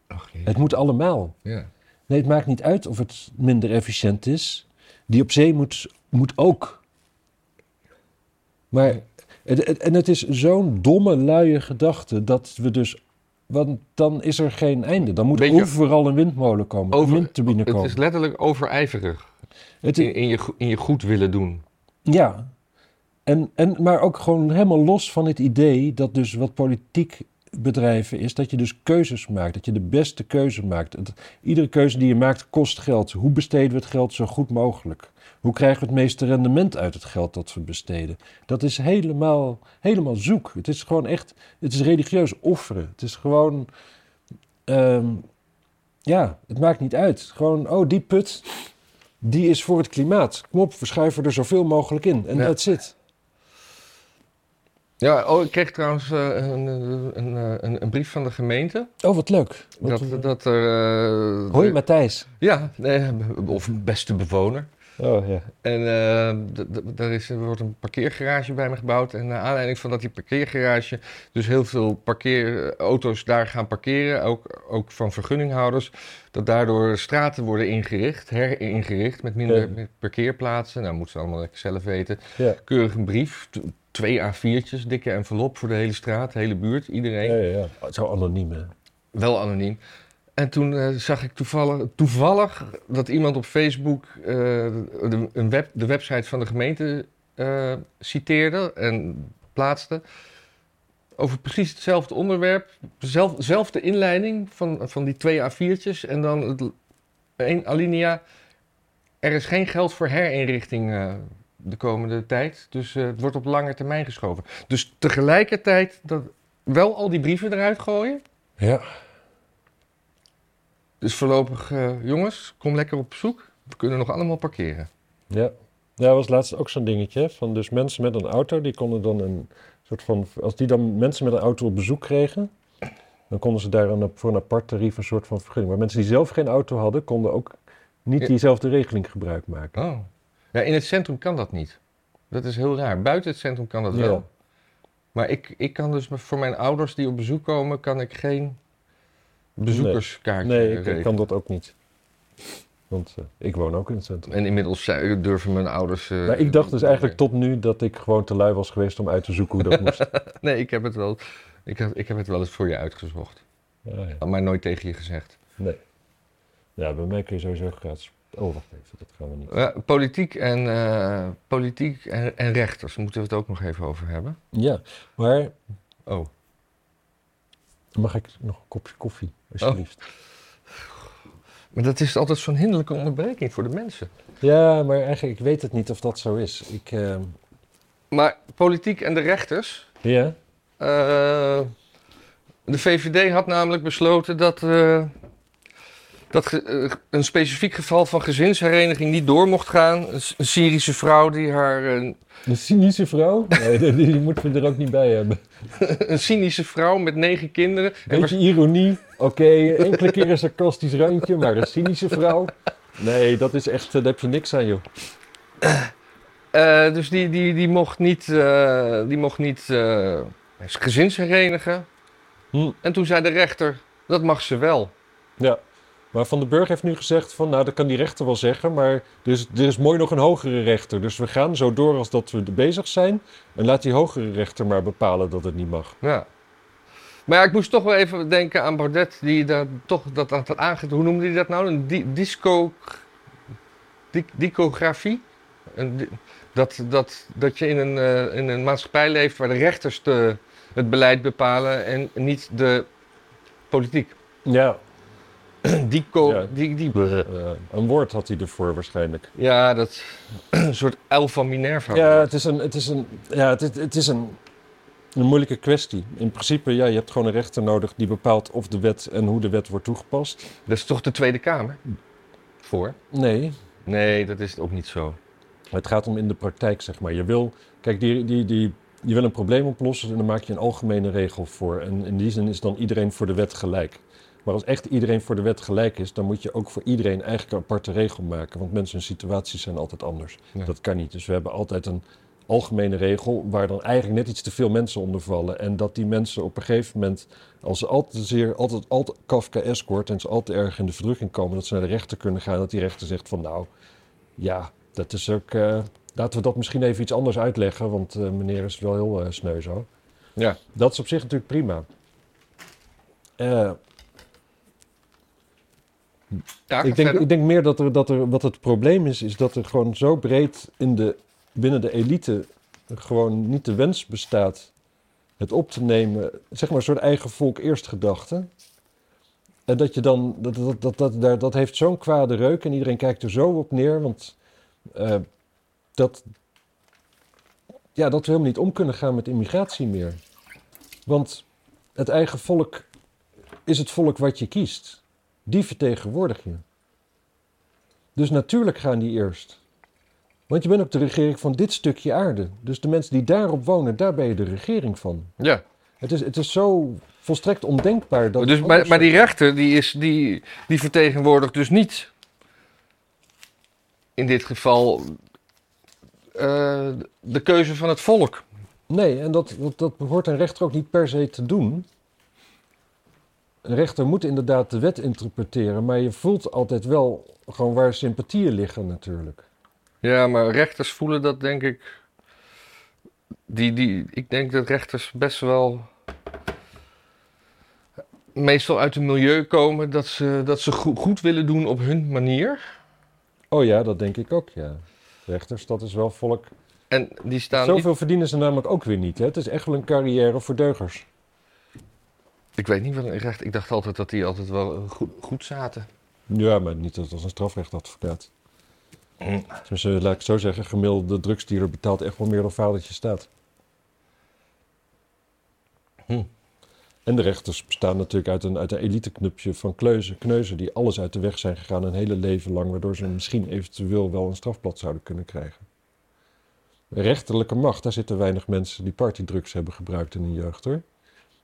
A: Ach, jee.
B: Het moet allemaal.
A: ja.
B: Nee, het maakt niet uit of het minder efficiënt is. Die op zee moet, moet ook. Maar, het- het- en het is zo'n domme, luie gedachte dat we dus. Want dan is er geen einde. Dan moet
A: Beetje-
B: overal een windmolen komen,
A: Over-
B: een windturbine
A: Het
B: komen.
A: is letterlijk overijverig.
B: Het is-
A: In, in, je, go- in je goed willen doen.
B: ja. En, en, maar ook gewoon helemaal los van het idee dat dus wat politiek bedrijven is, dat je dus keuzes maakt, dat je de beste keuze maakt. Het- iedere keuze die je maakt kost geld. Hoe besteden we het geld zo goed mogelijk? Hoe krijgen we het meeste rendement uit het geld dat we besteden? Dat is helemaal, helemaal zoek. Het is gewoon echt, het is religieus offeren. Het is gewoon, ehm, ja, het maakt niet uit. Gewoon, oh, die put, die is voor het klimaat. Kom op, we schuiven er zoveel mogelijk in. En
A: Ja.
B: that's it.
A: Ja, oh, ik kreeg trouwens eh, een, een, eh, een, een, een brief van de gemeente.
B: Oh, wat leuk. Wat-
A: Dat, dat er. eh,
B: Hoi, Matthijs.
A: Ja, nee, *laughs* of beste bewoner.
B: Oh, ja.
A: En eh, d- d- daar is, er wordt een parkeergarage bij me gebouwd. En naar aanleiding van dat die parkeergarage dus heel veel parkeerauto's daar gaan parkeren, ook, ook van vergunninghouders, dat daardoor straten worden ingericht, heringericht met minder
B: Ja.
A: met parkeerplaatsen. Nou, moeten ze allemaal lekker zelf weten.
B: Ja,
A: Keurig een brief, t- twee A4'tjes, dikke envelop voor de hele straat, de hele buurt, iedereen.
B: ja, ja. Oh, Zo anoniem, hè?
A: Wel anoniem. En toen eh, zag ik toevallig, toevallig dat iemand op Facebook eh, de, een web, de website van de gemeente eh, citeerde en plaatste. Over precies hetzelfde onderwerp. Zelf, zelfde inleiding van, van die twee A4'tjes. En dan het, één alinea. Er is geen geld voor herinrichting eh, de komende tijd. Dus eh, het wordt op lange termijn geschoven. Dus tegelijkertijd dat, wel al die brieven eruit gooien.
B: Ja.
A: Dus voorlopig, eh, jongens, kom lekker op zoek. We kunnen nog allemaal parkeren.
B: Ja. ja, dat was laatst ook zo'n dingetje. hè, Van dus mensen met een auto, die konden dan een soort van... Als die dan mensen met een auto op bezoek kregen... dan konden ze daar een, voor een apart tarief een soort van vergunning. Maar mensen die zelf geen auto hadden, konden ook niet
A: Ja.
B: diezelfde regeling gebruik maken.
A: Oh. Ja, in het centrum kan dat niet. Dat is heel raar. Buiten het centrum kan dat
B: Ja.
A: wel. Maar ik, ik kan dus voor mijn ouders die op bezoek komen, kan ik geen bezoekerskaartje
B: Nee, ik- ik,
A: regelen.
B: kan dat ook niet. Want eh, ik woon ook in het centrum.
A: En inmiddels eh, durven mijn ouders... eh,
B: Maar ik dacht dus eigenlijk tot nu dat ik gewoon te lui was geweest om uit te zoeken
A: *laughs*
B: hoe dat moest.
A: Nee, ik heb het wel, ik heb, ik heb het wel eens voor je uitgezocht.
B: Ah, ja.
A: Maar nooit tegen je gezegd.
B: Nee. Ja, bij mij kun je sowieso gratis... Oh, wacht even, dat gaan we niet.
A: Ja, politiek en, eh, politiek en, en rechters, moeten we het ook nog even over hebben.
B: Ja, maar
A: Oh,
B: Mag ik nog een kopje koffie, alsjeblieft?
A: alsjeblieft? maar dat is altijd zo'n hinderlijke onderbreking voor de mensen.
B: Ja, maar eigenlijk, ik weet het niet of dat zo is. Ik, eh,
A: Maar politiek en de rechters.
B: ja,
A: eh, de VVD had namelijk besloten dat, eh, dat ge- eh, een specifiek geval van gezinshereniging niet door mocht gaan. Een, S- een Syrische vrouw die haar. eh, Een,
B: een cynische vrouw, nee, die, die moeten we er ook niet bij hebben.
A: *laughs* een cynische vrouw met negen kinderen. En waars-
B: Beetje ironie, oké, enkele keer een sarcastisch randje, maar een cynische vrouw? Nee, dat is echt, eh, daar heb je niks aan, joh.
A: Eh, dus die, die, die mocht niet, eh, die mocht niet eh, gezinsherenigen.
B: Hm.
A: En toen zei de rechter, dat mag ze wel.
B: Ja. Maar Van den Burg heeft nu gezegd van, nou, dat kan die rechter wel zeggen, maar er is, er is mooi nog een hogere rechter. Dus we gaan zo door als dat we er bezig zijn en laat die hogere rechter maar bepalen dat het niet mag.
A: Ja. Maar ja, ik moest toch wel even denken aan Baudet, die daar toch dat had aange... Hoe noemde hij dat nou? Een di disco... di- dicografie? Een di- dat, dat, dat je in een, eh, in een maatschappij leeft waar de rechters de, het beleid bepalen en niet de politiek. *clears throat*
B: Ja.
A: Dico,
B: Ja.
A: die, die,
B: Eh, een woord had hij ervoor waarschijnlijk.
A: ja, dat *clears throat* een soort uil van Minerva.
B: Ja, het is een, het is een, ja, het, is- het is een, een moeilijke kwestie. In principe, ja, je hebt gewoon een rechter nodig die bepaalt of de wet en hoe de wet wordt toegepast.
A: Dat is toch de Tweede Kamer? Voor?
B: Nee,
A: Nee, dat is ook niet zo.
B: Het gaat om in de praktijk, zeg maar. Je wil, kijk, die, die, die, je wil een probleem oplossen en dan maak je een algemene regel voor. En in die zin is dan iedereen voor de wet gelijk. Maar als echt iedereen voor de wet gelijk is, dan moet je ook voor iedereen eigenlijk een aparte regel maken. Want mensen en situaties zijn altijd anders.
A: Ja.
B: Dat kan niet. Dus we hebben altijd een algemene regel waar dan eigenlijk net iets te veel mensen onder vallen. En dat die mensen op een gegeven moment, als ze altijd te zeer, altijd, altijd Kafkaesk wordt en ze altijd erg in de verdrukking komen, dat ze naar de rechter kunnen gaan. Dat die rechter zegt van nou, ja, dat is ook. eh, laten we dat misschien even iets anders uitleggen, want eh, meneer is wel heel eh, sneu zo.
A: Ja.
B: Dat is op zich natuurlijk prima. Eh,
A: Ja, ga
B: ik, denk,
A: verder.
B: ik denk meer dat, er, dat er, wat het probleem is, is dat er gewoon zo breed in de, binnen de elite gewoon niet de wens bestaat het op te nemen, zeg maar een soort eigen volk eerst gedachte. En dat je dan, dat, dat, dat, dat, daar- dat heeft zo'n kwade reuk en iedereen kijkt er zo op neer, want eh, dat, ja, dat we helemaal niet om kunnen gaan met immigratie meer. Want het eigen volk is het volk wat je kiest. Die vertegenwoordig je. Dus natuurlijk gaan die eerst. Want je bent ook de regering van dit stukje aarde. Dus de mensen die daarop wonen, daar ben je de regering van.
A: Ja.
B: Het is, het is zo volstrekt ondenkbaar dat.
A: dus, maar, maar die rechter die is, die, die vertegenwoordigt dus niet in dit geval eh, de keuze van het volk.
B: Nee, en dat, dat, dat behoort een rechter ook niet per se te doen. Een rechter moet inderdaad de wet interpreteren, maar je voelt altijd wel gewoon waar sympathieën liggen natuurlijk.
A: Ja, maar rechters voelen dat denk ik. Die, die, ik denk dat rechters best wel meestal uit een milieu komen dat ze, dat ze goe- goed willen doen op hun manier.
B: Oh ja, dat denk ik ook, ja. Rechters, dat is wel volk.
A: En die staan. niet-
B: Zoveel verdienen ze namelijk ook weer niet. Hè? Het is echt wel een carrière voor deugers.
A: ik weet niet wat een rechter. Ik dacht altijd dat die altijd wel goed, goed zaten.
B: Ja, maar niet als als een strafrechtadvocaat. Dus laat ik het zo zeggen, gemiddelde drugsdealer betaalt echt wel meer dan vadertje staat.
A: Hm.
B: En de rechters bestaan natuurlijk uit een, uit een eliteknupje van kleuzen, kneuzen die alles uit de weg zijn gegaan een hele leven lang, waardoor ze misschien eventueel wel een strafblad zouden kunnen krijgen. Rechterlijke macht, daar zitten weinig mensen die partydrugs hebben gebruikt in hun jeugd hoor.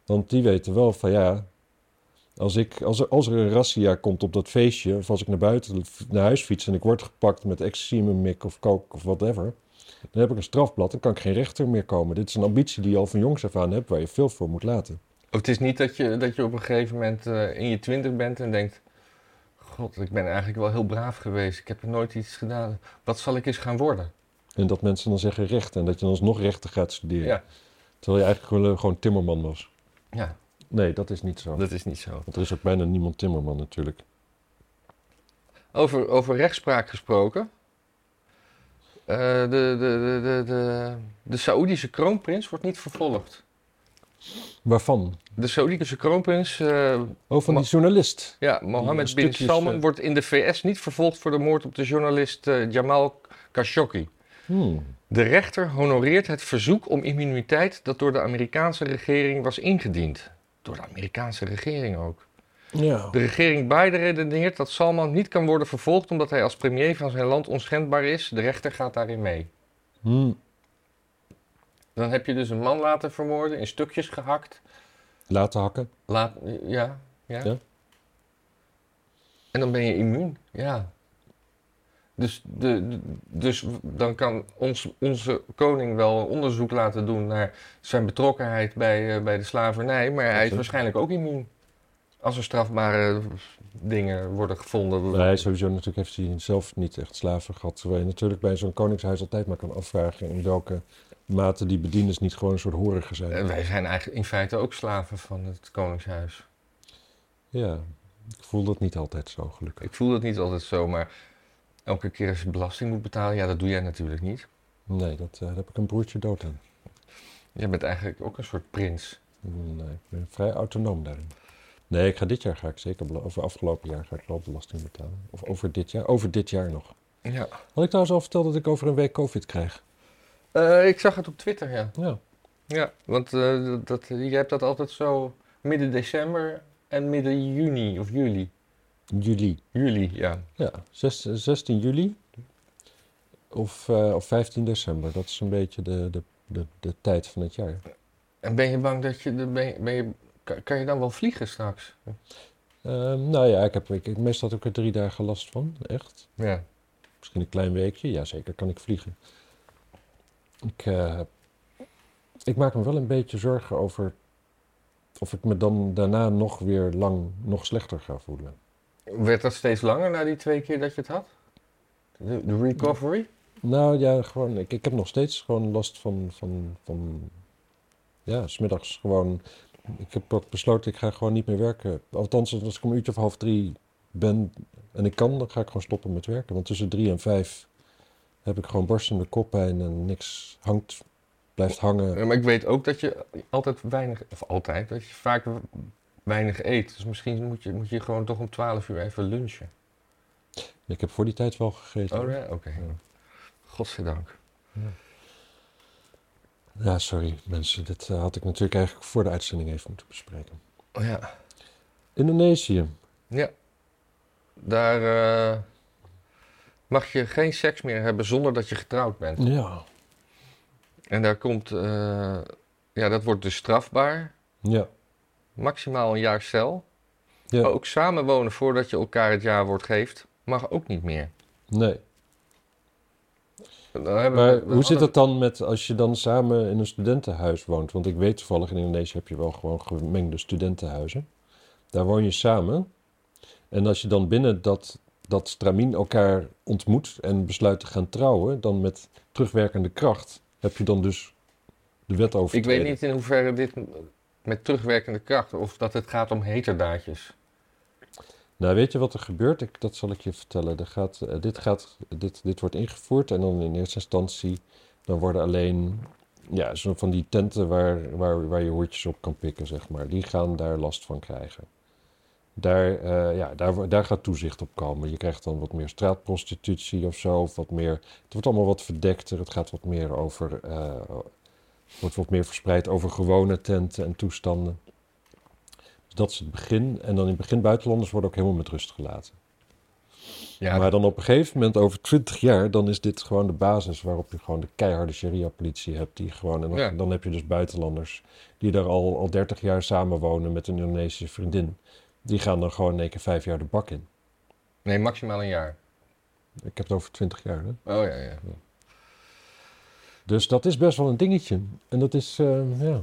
B: Want die weten wel van ja, als, ik, als, er, als er een razzia komt op dat feestje, of als ik naar buiten naar huis fiets en ik word gepakt met ecstasy in mijn mik of coke of whatever, dan heb ik een strafblad en kan ik geen rechter meer komen. Dit is een ambitie die je al van jongs af aan hebt, waar je veel voor moet laten.
A: Het is niet dat je, dat je op een gegeven moment eh, in je twintig bent en denkt... God, ik ben eigenlijk wel heel braaf geweest. Ik heb nooit iets gedaan. Wat zal ik eens gaan worden?
B: En dat mensen dan zeggen rechten en dat je dan alsnog rechten gaat studeren.
A: Ja.
B: Terwijl je eigenlijk gewoon, gewoon timmerman was.
A: Ja,
B: Nee, dat is niet zo.
A: dat is niet zo.
B: Want er is ook bijna niemand timmerman natuurlijk.
A: Over, over rechtspraak gesproken. Eh, de, de, de, de, de, de Saoedische kroonprins wordt niet vervolgd.
B: Waarvan?
A: De Saoedische kroonprins, eh,
B: Oh, van
A: Ma-
B: die journalist.
A: ja, Mohammed
B: Een
A: bin
B: stukje is,
A: Salman,
B: eh,
A: wordt in de VS niet vervolgd voor de moord op de journalist eh, Jamal Khashoggi.
B: Hmm.
A: De rechter honoreert het verzoek om immuniteit dat door de Amerikaanse regering was ingediend. Door de Amerikaanse regering ook.
B: Ja.
A: De regering Biden redeneert dat Salman niet kan worden vervolgd omdat hij als premier van zijn land onschendbaar is. De rechter gaat daarin mee.
B: Hmm.
A: Dan heb je dus een man laten vermoorden, in stukjes gehakt.
B: Laten hakken.
A: Laat, ja, ja,
B: Ja.
A: En dan ben je immuun, ja. Dus, de, de- dus dan kan ons, onze koning wel onderzoek laten doen naar zijn betrokkenheid bij, eh, bij de slavernij. Maar hij is
B: Absoluut.
A: waarschijnlijk ook immuun. Als er strafbare dingen worden gevonden.
B: Maar hij is sowieso natuurlijk heeft hij zelf niet echt slaven gehad. Terwijl je natuurlijk bij zo'n koningshuis altijd maar kan afvragen in welke mate die bedieners niet gewoon een soort horigen zijn.
A: Eh, Wij zijn eigenlijk in feite ook slaven van het koningshuis.
B: Ja, ik voel dat niet altijd zo gelukkig.
A: Ik voel dat niet altijd zo, maar elke keer als je belasting moet betalen, ja, dat doe jij natuurlijk niet.
B: Nee, dat, eh, daar heb ik een broertje dood aan.
A: Jij bent eigenlijk ook een soort prins.
B: Nee, ik ben vrij autonoom daarin. Nee, ik ga dit jaar ga ik zeker, bela- over afgelopen jaar ga ik wel belasting betalen. Of over dit jaar, over dit jaar nog.
A: Ja.
B: Had ik trouwens al verteld dat ik over een week COVID krijg?
A: Eh, ik zag het op Twitter, ja.
B: Ja.
A: Ja, want eh, dat, dat- je hebt dat altijd zo midden december en midden juni of juli.
B: Juli.
A: Juli, ja.
B: Ja, zes- 16 juli of, eh, of 15 december. Dat is een beetje de, de, de, de tijd van het jaar.
A: En ben je bang dat je, de- ben je, ben je kan, kan je dan wel vliegen straks?
B: Ehm, nou ja, ik heb ik, ik- meestal heb ik er drie dagen last van, echt.
A: Ja.
B: Misschien een klein weekje, ja zeker kan ik vliegen. Ik, eh, ik maak me wel een beetje zorgen over of ik me dan daarna nog weer lang nog slechter ga voelen.
A: Werd dat steeds langer na die twee keer dat je het had? De, de recovery?
B: Nou ja, gewoon, ik, ik heb nog steeds gewoon last van, van, van ja, smiddags gewoon. Ik heb ook besloten, ik ga gewoon niet meer werken. Althans, als ik om een uurtje of half drie ben en ik kan, dan ga ik gewoon stoppen met werken. Want tussen drie en vijf heb ik gewoon borstende koppijn en niks hangt, blijft hangen.
A: Ja, maar ik weet ook dat je altijd weinig, of altijd, dat je vaak w- weinig eet. Dus misschien moet je, moet je gewoon toch om 12 uur even lunchen.
B: Ik heb voor die tijd wel gegeten.
A: Oh ja, oké. Godzijdank.
B: Ja, sorry mensen, dit eh, had ik natuurlijk eigenlijk voor de uitzending even moeten bespreken.
A: Oh ja.
B: Indonesië.
A: Ja. Daar eh, mag je geen seks meer hebben zonder dat je getrouwd bent.
B: Ja.
A: En daar komt, eh, ja, dat wordt dus strafbaar.
B: Ja.
A: Maximaal een jaar cel.
B: ja.
A: Ook samenwonen voordat je elkaar het jaarwoord geeft, mag ook niet meer.
B: Nee.
A: Dan hebben eh, we-
B: Maar
A: we
B: hoe zit
A: hadden-
B: dat dan met als je dan samen in een studentenhuis woont? Want ik weet toevallig in Indonesië heb je wel gewoon gemengde studentenhuizen. Daar woon je samen. En als je dan binnen dat, dat stramien elkaar ontmoet en besluit te gaan trouwen, dan met terugwerkende kracht heb je dan dus de wet over.
A: Ik weet niet in hoeverre dit m- met terugwerkende kracht of dat het gaat om heterdaadjes.
B: Nou, weet je wat er gebeurt? Ik, dat zal ik je vertellen. Er gaat, eh, dit, gaat, dit, dit wordt ingevoerd en dan in eerste instantie dan worden alleen ja, zo van die tenten waar, waar, waar je hoortjes op kan pikken, zeg maar. Die gaan daar last van krijgen. Daar, eh, ja, daar, wo- daar gaat toezicht op komen. Je krijgt dan wat meer straatprostitutie of zo. Of wat meer, het wordt allemaal wat verdekter. Het gaat wat meer over. eh, wordt wat meer verspreid over gewone tenten en toestanden. Dus dat is het begin. En dan in het begin buitenlanders worden ook helemaal met rust gelaten.
A: Ja,
B: Maar dan op een gegeven moment, over twintig jaar, dan is dit gewoon de basis waarop je gewoon de keiharde sharia-politie hebt. Die gewoon, en dan,
A: Ja.
B: dan heb je dus buitenlanders die daar al, al 30 jaar samenwonen met een Indonesische vriendin. Die gaan dan gewoon in één keer vijf jaar de bak in.
A: nee, maximaal een jaar.
B: Ik heb het over 20 jaar. Hè?
A: Oh ja, ja.
B: Dus dat is best wel een dingetje. En dat is, eh, ja.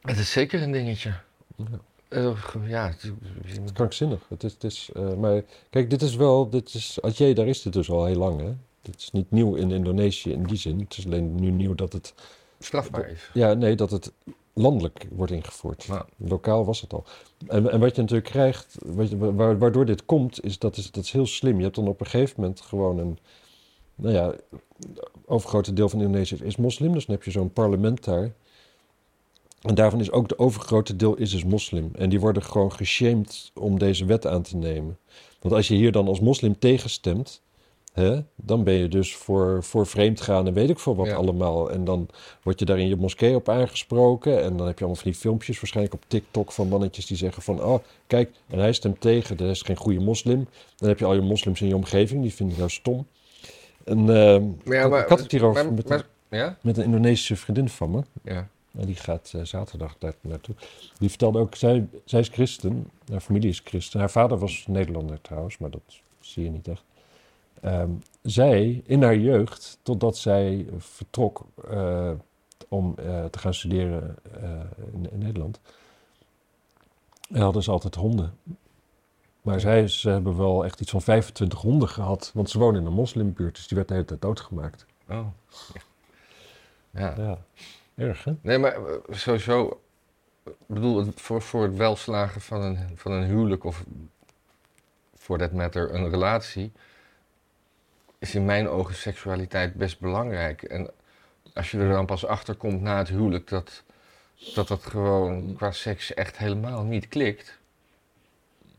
A: Het is zeker een dingetje.
B: Ja.
A: Eh, ge- Ja, het-
B: Het is krankzinnig. Het is, het is, eh, maar kijk, dit is wel, dit is, Aceh, daar is dit dus al heel lang, hè. Dit is niet nieuw in Indonesië in die zin. Het is alleen nu nieuw dat het,
A: strafbaar is.
B: ja, nee, dat het landelijk wordt ingevoerd.
A: Ja.
B: Lokaal was het al. En, en wat je natuurlijk krijgt, wat je- wa- waardoor dit komt, is dat, is dat is heel slim. Je hebt dan op een gegeven moment gewoon een, nou ja, overgrote deel van Indonesië is moslim, dus dan heb je zo'n parlement daar. En daarvan is ook de overgrote deel is dus moslim. En die worden gewoon geshamed om deze wet aan te nemen. Want als je hier dan als moslim tegenstemt, hè, dan ben je dus voor, voor vreemdgaan en weet ik veel wat
A: Ja.
B: allemaal. En dan word je daar in je moskee op aangesproken. En dan heb je allemaal van die filmpjes waarschijnlijk op TikTok van mannetjes die zeggen van... Oh, kijk, en hij stemt tegen, dat is geen goede moslim. Dan heb je al je moslims in je omgeving, die vinden jou stom. En, ehm, ik- ik had het hier over
A: maar-
B: met,
A: maar- ja?
B: met een Indonesische vriendin van me.
A: Ja.
B: En die gaat eh, zaterdag daar naartoe. Die vertelde ook, zij, zij is christen. Haar familie is christen. Haar vader was Nederlander trouwens, maar dat zie je niet echt. Ehm, zij in haar jeugd, totdat zij vertrok eh, om eh, te gaan studeren eh, in, in Nederland, hadden ze altijd honden. Maar zij ze hebben wel echt iets van 25 honden gehad, want ze wonen in een moslimbuurt, dus die werd de hele tijd doodgemaakt.
A: Oh. Ja.
B: Ja, erg hè?
A: Nee, maar eh, sowieso, ik bedoel, het- voor, voor het welslagen van een, van een huwelijk of voor dat matter een relatie, is in mijn ogen seksualiteit best belangrijk. En als je er dan pas achter komt na het huwelijk dat dat, dat gewoon qua seks echt helemaal niet klikt.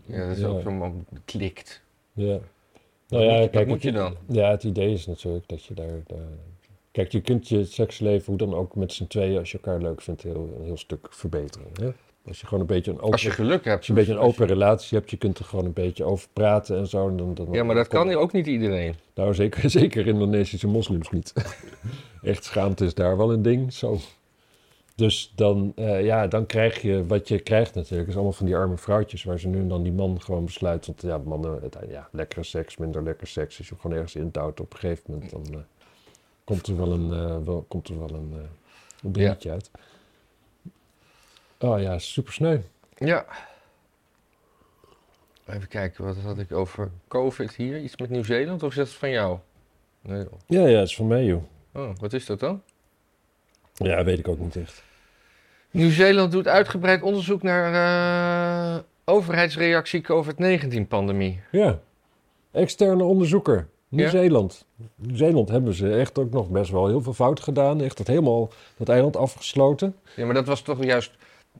A: Ja, dat is
B: Ja.
A: ook zo'n moment, klikt.
B: Ja.
A: Wat
B: Nou ja,
A: moet je- wat
B: kijk,
A: moet je
B: het-
A: dan?
B: Ja, het idee is natuurlijk dat je daar. daar- Kijk, je kunt je seksleven hoe dan ook met z'n tweeën, als je elkaar leuk vindt, heel, een heel stuk verbeteren. Hè? Als je gewoon een beetje een open,
A: Als je geluk hebt.
B: als je een, beetje een open relatie hebt, je kunt er gewoon een beetje over praten en zo. en Dan, dan,
A: Ja, maar dat kan ook niet iedereen.
B: Nou, zeker, *laughs* zeker Indonesische moslims niet. *laughs* Echt schaamte is daar wel een ding. Zo. Dus dan, eh, ja, dan krijg je wat je krijgt natuurlijk. is allemaal van die arme vrouwtjes waar ze nu en dan die man gewoon besluit. Want ja, mannen, het, ja, lekkere seks, minder lekker seks. Als je hem gewoon ergens intouwt op een gegeven moment, dan eh, komt er wel een, eh wel, komt er wel een, eh een dingetje uit. Oh ja, super sneu.
A: Ja. Even kijken, wat had ik over COVID hier? Iets met Nieuw-Zeeland of is dat van jou? Nee.
B: Ja, ja, is van mij joh.
A: Oh, wat is dat dan?
B: Ja, weet ik ook niet echt.
A: Nieuw-Zeeland doet uitgebreid onderzoek naar eh, overheidsreactie COVID-19-pandemie.
B: Ja, externe onderzoeker.
A: Ja.
B: Nieuw-Zeeland. Nieuw-Zeeland hebben ze echt ook nog best wel heel veel fout gedaan. Echt dat helemaal dat eiland afgesloten.
A: Ja, maar dat was toch juist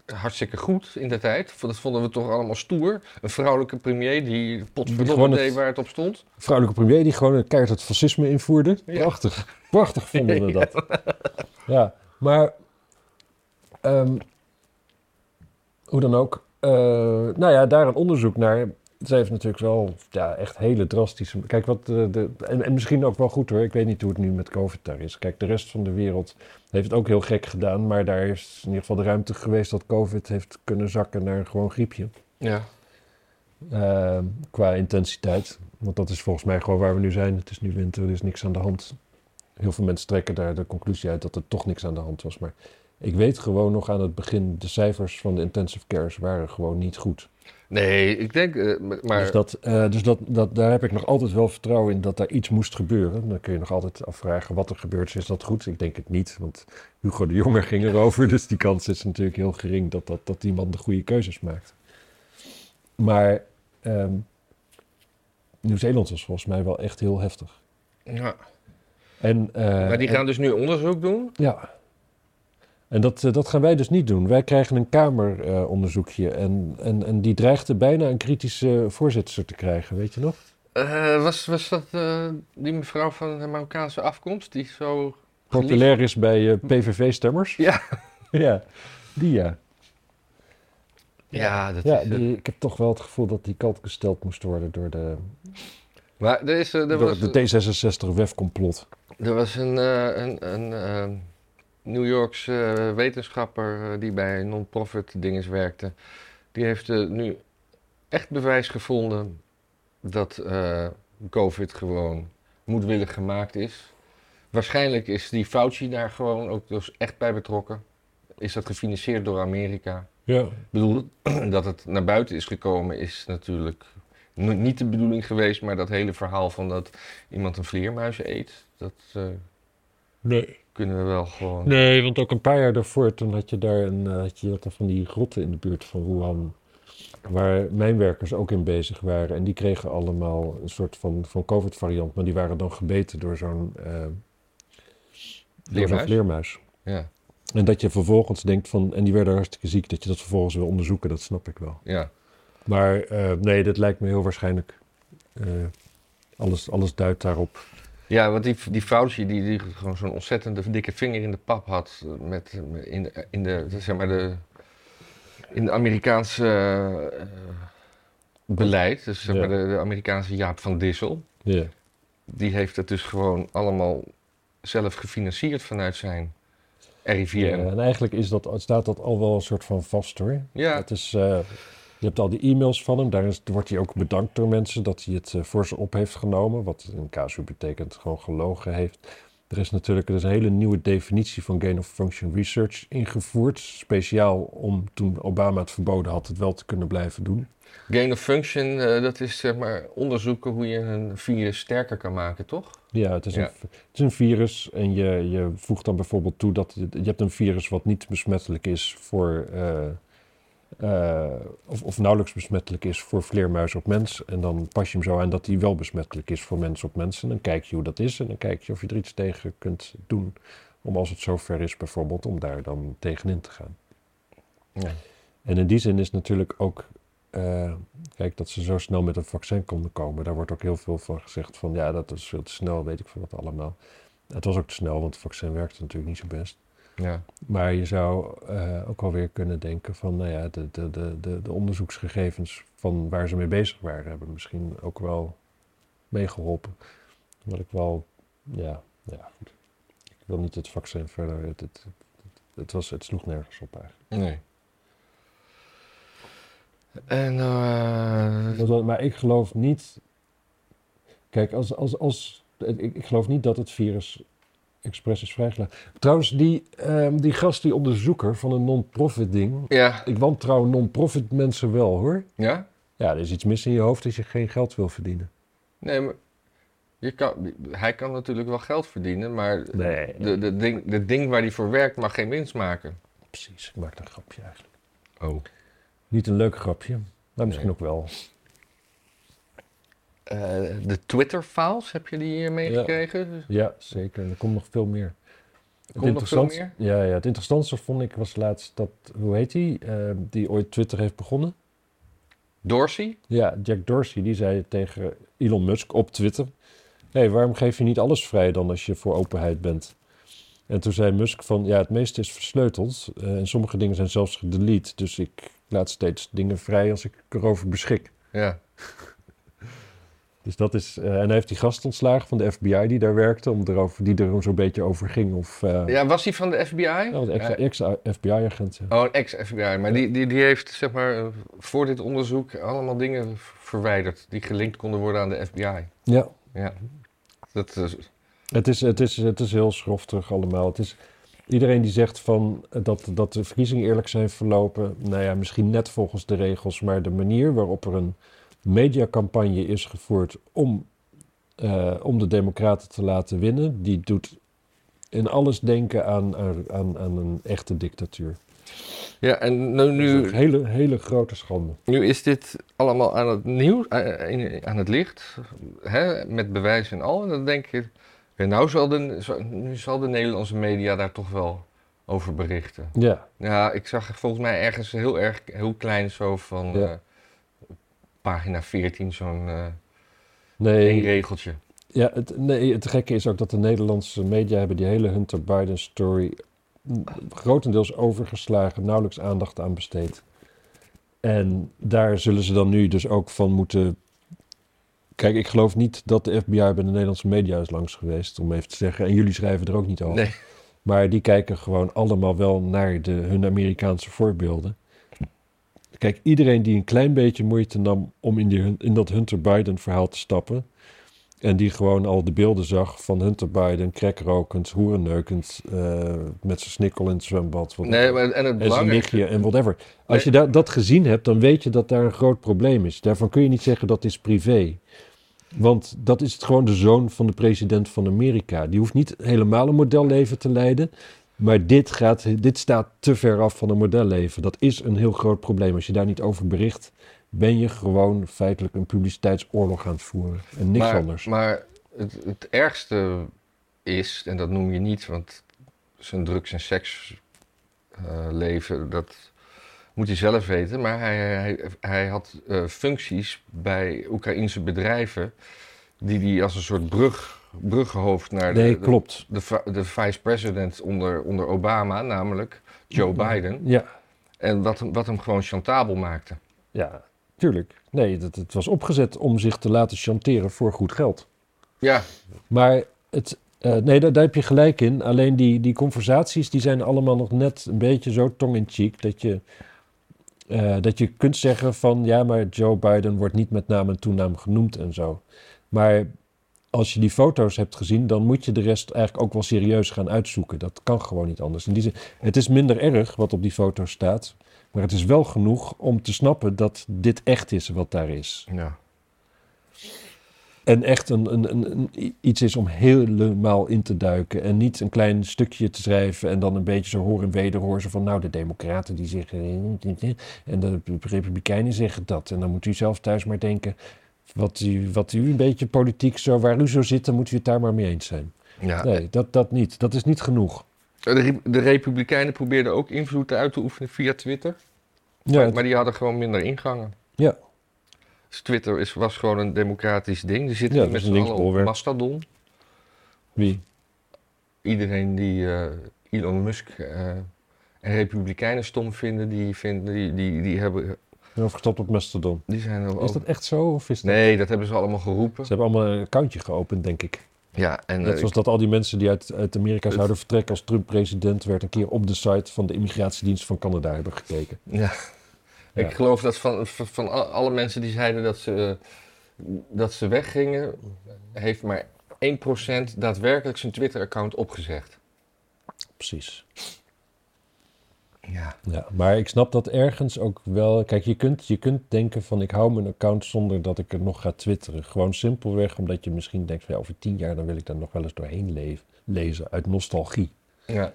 A: hartstikke goed in de tijd. Dat vonden we toch allemaal stoer. Een vrouwelijke premier die
B: gewoon
A: potverdomme
B: het-
A: deed waar het op stond.
B: Vrouwelijke premier die gewoon keihard het fascisme invoerde.
A: Ja.
B: Prachtig. Prachtig vonden we dat. Ja, maar... ehm, hoe dan ook. eh, nou ja, daar een onderzoek naar. Ze heeft natuurlijk wel ja, echt hele drastische... Kijk, wat de, de, en, en misschien ook wel goed hoor. Ik weet niet hoe het nu met COVID daar is. Kijk, de rest van de wereld heeft het ook heel gek gedaan. Maar daar is in ieder geval de ruimte geweest dat COVID heeft kunnen zakken naar gewoon griepje.
A: Ja.
B: Ehm, qua intensiteit. Want dat is volgens mij gewoon waar we nu zijn. Het is nu winter, er is niks aan de hand. Heel veel mensen trekken daar de conclusie uit dat er toch niks aan de hand was. Maar ik weet gewoon nog aan het begin, de cijfers van de intensive cares waren gewoon niet goed.
A: Nee, ik denk... eh, maar
B: Dus, dat, eh, dus dat, dat, daar heb ik nog altijd wel vertrouwen in dat daar iets moest gebeuren. Dan kun je nog altijd afvragen wat er gebeurd is. Is dat goed? Ik denk het niet, want Hugo de Jonge ging erover. *laughs* Dus die kans is natuurlijk heel gering dat, dat, dat die man de goede keuzes maakt. Maar ehm, Nieuw-Zeeland was volgens mij wel echt heel heftig.
A: ja.
B: En, eh,
A: maar die
B: en-
A: gaan dus nu onderzoek doen.
B: ja. En dat, eh, dat gaan wij dus niet doen. Wij krijgen een Kameronderzoekje. en, en, en die dreigde bijna een kritische voorzitter te krijgen, weet je nog?
A: Eh, was, was dat eh, die mevrouw van de Marokkaanse afkomst die zo...
B: Populair is bij eh, PVV-stemmers.
A: Ja.
B: *laughs* ja, die ja.
A: Ja, dat
B: ja
A: is... eh,
B: die, ik heb toch wel het gevoel dat die kant gesteld moest worden door, de,
A: Maar er, is, eh, er,
B: door
A: was,
B: het D66-wefcomplot.
A: er was een, eh, een, een eh, New Yorkse eh, wetenschapper eh, die bij non-profit dinges werkte. Die heeft eh, nu echt bewijs gevonden dat eh, COVID gewoon moedwillig gemaakt is. Waarschijnlijk is die Fauci daar gewoon ook dus echt bij betrokken. Is dat gefinancierd door Amerika?
B: Ja.
A: Ik bedoel, *clears throat* dat het naar buiten is gekomen is natuurlijk n- niet de bedoeling geweest, maar dat hele verhaal van dat iemand een vleermuis eet, dat eh,
B: Nee.
A: kunnen we wel gewoon.
B: Oh. nee, want ook een paar jaar daarvoor, toen had je daar een, eh, had je dat van die grotten in de buurt van Wuhan. Waar mijnwerkers ook in bezig waren. En die kregen allemaal een soort van, van COVID-variant. Maar die waren dan gebeten door zo'n eh, door zo'n
A: Vleermuis?
B: vleermuis.
A: Ja,
B: En dat je vervolgens denkt van, en die werden hartstikke ziek, dat je dat vervolgens wil onderzoeken, dat snap ik wel.
A: ja.
B: Maar eh, nee, dat lijkt me heel waarschijnlijk. Eh, alles, alles duidt daarop.
A: ja want die, die Fauci die, die gewoon zo'n ontzettende dikke vinger in de pap had eh, met, eh, in, de, in, de, zeg maar de, in de Amerikaanse eh, beleid, dus zeg
B: Ja.
A: maar de, de Amerikaanse Jaap van Dissel,
B: Ja.
A: die heeft het dus gewoon allemaal zelf gefinancierd vanuit zijn RIVM.
B: Ja, en eigenlijk is dat, staat dat al wel een soort van vast hoor.
A: Ja,
B: Het is, eh, Je hebt al die e-mails van hem. Daar is- wordt hij ook bedankt door mensen dat hij het eh, voor ze op heeft genomen. Wat in casu betekent gewoon gelogen heeft. Er is natuurlijk er is een hele nieuwe definitie van gain of function research ingevoerd. Speciaal om toen Obama het verboden had het wel te kunnen blijven doen.
A: Gain of function, eh, dat is zeg maar onderzoeken hoe je een virus sterker kan maken, toch?
B: Ja, het is,
A: Ja.
B: Een, v- het is een virus en je, je voegt dan bijvoorbeeld toe dat je, je hebt een virus wat niet besmettelijk is voor, eh, eh, of, of nauwelijks besmettelijk is voor vleermuis op mens. En dan pas je hem zo aan dat hij wel besmettelijk is voor mens op mens. En dan kijk je hoe dat is en dan kijk je of je er iets tegen kunt doen. Om als het zover is bijvoorbeeld, om daar dan tegenin te gaan.
A: Ja.
B: En in die zin is natuurlijk ook, eh, kijk, dat ze zo snel met een vaccin konden komen. Daar wordt ook heel veel van gezegd van, ja, dat is veel te snel, weet ik veel wat allemaal. Het was ook te snel, want het vaccin werkte natuurlijk niet zo best.
A: Ja.
B: Maar je zou eh ook alweer kunnen denken van, nou ja, de, de, de, de, de onderzoeksgegevens van waar ze mee bezig waren, hebben misschien ook wel meegeholpen. Wat ik wel, ja, ja, goed. Ik wil niet het vaccin verder, het, het, het, het was, het sloeg nergens op eigenlijk.
A: Nee. En eh,
B: Dat wel- maar ik geloof niet. Kijk, als, als, als, ik, ik geloof niet dat het virus expres is vrijgelaten. Trouwens, die, ehm, die gast, die onderzoeker van een non-profit ding.
A: ja.
B: Ik wantrouw non-profit mensen wel hoor.
A: Ja?
B: Ja, er is iets mis in je hoofd als je geen geld wil verdienen.
A: Nee, maar je kan, hij kan natuurlijk wel geld verdienen, maar
B: Nee,
A: de, de, ding, de ding waar hij voor werkt mag geen winst maken.
B: precies. Ik maak een grapje eigenlijk.
A: Oh.
B: Niet een leuk grapje, maar misschien
A: Nee.
B: ook wel.
A: Eh, de Twitter-files, heb je die eh, meegekregen?
B: Ja, zeker. En er komt nog veel meer. Het
A: Komt nog veel
B: interessant- Ja, ja, het interessantste vond ik was laatst dat, hoe heet die, eh, die ooit Twitter heeft begonnen.
A: Dorsey?
B: Ja, Jack Dorsey die zei tegen Elon Musk op Twitter: Hé, waarom geef je niet alles vrij dan als je voor openheid bent? En toen zei Musk van ja, het meeste is versleuteld eh, en sommige dingen zijn zelfs gedelete. Dus ik laat steeds dingen vrij als ik erover beschik.
A: Ja.
B: Dus dat is, eh, en hij heeft die gast ontslagen van de FBI die daar werkte, om erover, die er zo'n beetje over ging. Of, eh,
A: Ja, was hij van de FBI?
B: ja, want
A: Ja.
B: ex-FBI-agent. Ja.
A: Oh, een ex-FBI. Maar die, die, die heeft zeg maar, eh, voor dit onderzoek allemaal dingen v- verwijderd die gelinkt konden worden aan de FBI.
B: ja,
A: Ja. Dat eh, is,
B: Het is, het is, het is heel schroftig allemaal. Het is, iedereen die zegt van eh, dat, dat de verkiezingen eerlijk zijn verlopen, nou ja, misschien net volgens de regels, maar de manier waarop er een mediacampagne is gevoerd om, eh, om de Democraten te laten winnen, die doet in alles denken aan, aan, aan, aan een echte dictatuur.
A: ja, en nu,
B: Dat is
A: nu,
B: een hele, hele grote schande.
A: Nu is dit allemaal aan het nieuws, eh, in- aan het licht, hè, met bewijs en al. En dan denk je, ja, nou zal de, zo- nu zal de Nederlandse media daar toch wel over berichten.
B: Ja,
A: Ja, ik zag volgens mij ergens heel erg, heel klein zo van
B: Ja.
A: eh, pagina 14, zo'n eh, één
B: nee.
A: regeltje.
B: Ja, het, nee, het gekke is ook dat de Nederlandse media hebben die hele Hunter Biden story mm, grotendeels overgeslagen, nauwelijks aandacht aan besteed. En daar zullen ze dan nu dus ook van moeten. Kijk, ik geloof niet dat de FBI bij de Nederlandse media is langs geweest, om even te zeggen. En jullie schrijven er ook niet over.
A: Nee.
B: Maar die kijken gewoon allemaal wel naar de, hun Amerikaanse voorbeelden. Kijk, iedereen die een klein beetje moeite nam om in, die, hun- in dat Hunter Biden verhaal te stappen. En die gewoon al de beelden zag van Hunter Biden, crackrokend, hoerenneukend, eh, met zijn snikkel in het zwembad. wat-
A: Nee, maar, en het
B: en zijn
A: belangrijkste...
B: nichtje en whatever. Als je
A: Nee.
B: da- dat gezien hebt, dan weet je dat daar een groot probleem is. Daarvan kun je niet zeggen dat is privé. Want dat is het gewoon de zoon van de president van Amerika. Die hoeft niet helemaal een modelleven te leiden. Maar dit, gaat, dit staat te ver af van een modelleven. Dat is een heel groot probleem. Als je daar niet over bericht, ben je gewoon feitelijk een publiciteitsoorlog aan het voeren. En niks
A: maar,
B: anders.
A: Maar het, het ergste is, en dat noem je niet, want zijn drugs- en seksleven, dat moet hij zelf weten. Maar hij, hij, hij had eh, functies bij Oekraïense bedrijven die hij als een soort brug, bruggenhoofd naar de,
B: nee,
A: de-
B: klopt.
A: de, va- de vice president onder, onder Obama, namelijk Joe Biden.
B: Ja,
A: En wat, hem- wat hem gewoon chantabel maakte.
B: ja, tuurlijk. Nee, dat, het was opgezet om zich te laten chanteren voor goed geld.
A: Ja,
B: Maar het, eh, nee, daar, daar heb je gelijk in. Alleen die, die conversaties die zijn allemaal nog net een beetje zo tong in cheek. Dat je, eh, dat je kunt zeggen van ja, maar Joe Biden wordt niet met naam en toenaam genoemd en zo. Maar als je die foto's hebt gezien, dan moet je de rest eigenlijk ook wel serieus gaan uitzoeken. Dat kan gewoon niet anders. In die zin, het is minder erg wat op die foto's staat, maar het is wel genoeg om te snappen dat dit echt is wat daar is.
A: Ja.
B: En echt een, een, een, een- iets is om helemaal in te duiken. En niet een klein stukje te schrijven en dan een beetje zo hoor en wederhoor. Zo van nou, de democraten die zeggen... En de republikeinen zeggen dat. En dan moet u zelf thuis maar denken... Wat u, wat u een beetje politiek zo, waar u zo zit, dan moet u het daar maar mee eens zijn.
A: ja.
B: Nee, dat, dat niet. Dat is niet genoeg.
A: De, re- de Republikeinen probeerden ook invloed uit te oefenen via Twitter.
B: Ja, het-
A: Maar die hadden gewoon minder ingangen.
B: Ja.
A: Dus Twitter is, was gewoon een democratisch ding. Die zitten
B: Ja, dus
A: niet
B: dat
A: met
B: is
A: z'n
B: een
A: allen op
B: linksbolwerk.
A: Mastodon.
B: wie?
A: Iedereen die eh, Elon Musk eh, en Republikeinen stom vinden, die, vinden die, die, die, hebben,
B: Overgestapt op Mastodon.
A: die zijn er
B: Is
A: ook.
B: dat echt zo? Of is dat...
A: Nee, dat hebben ze allemaal geroepen.
B: Ze hebben allemaal een accountje geopend, denk ik.
A: Ja, en
B: Net
A: eh,
B: zoals dat al die mensen die uit, uit Amerika
A: Het-
B: zouden vertrekken als Trump president werd, een keer op de site van de immigratiedienst van Canada hebben gekeken.
A: Ja.
B: Ja.
A: Ik geloof dat van, van van a- alle mensen die zeiden dat ze, eh, dat ze weggingen, heeft maar 1% daadwerkelijk zijn Twitter-account opgezegd.
B: Precies.
A: Ja.
B: Ja, maar ik snap dat ergens ook wel. Kijk, je kunt, je kunt denken van ik hou mijn account zonder dat ik er nog ga twitteren. Gewoon simpelweg omdat je misschien denkt van ja, over tien jaar dan wil ik daar nog wel eens doorheen leven, lezen uit nostalgie.
A: ja.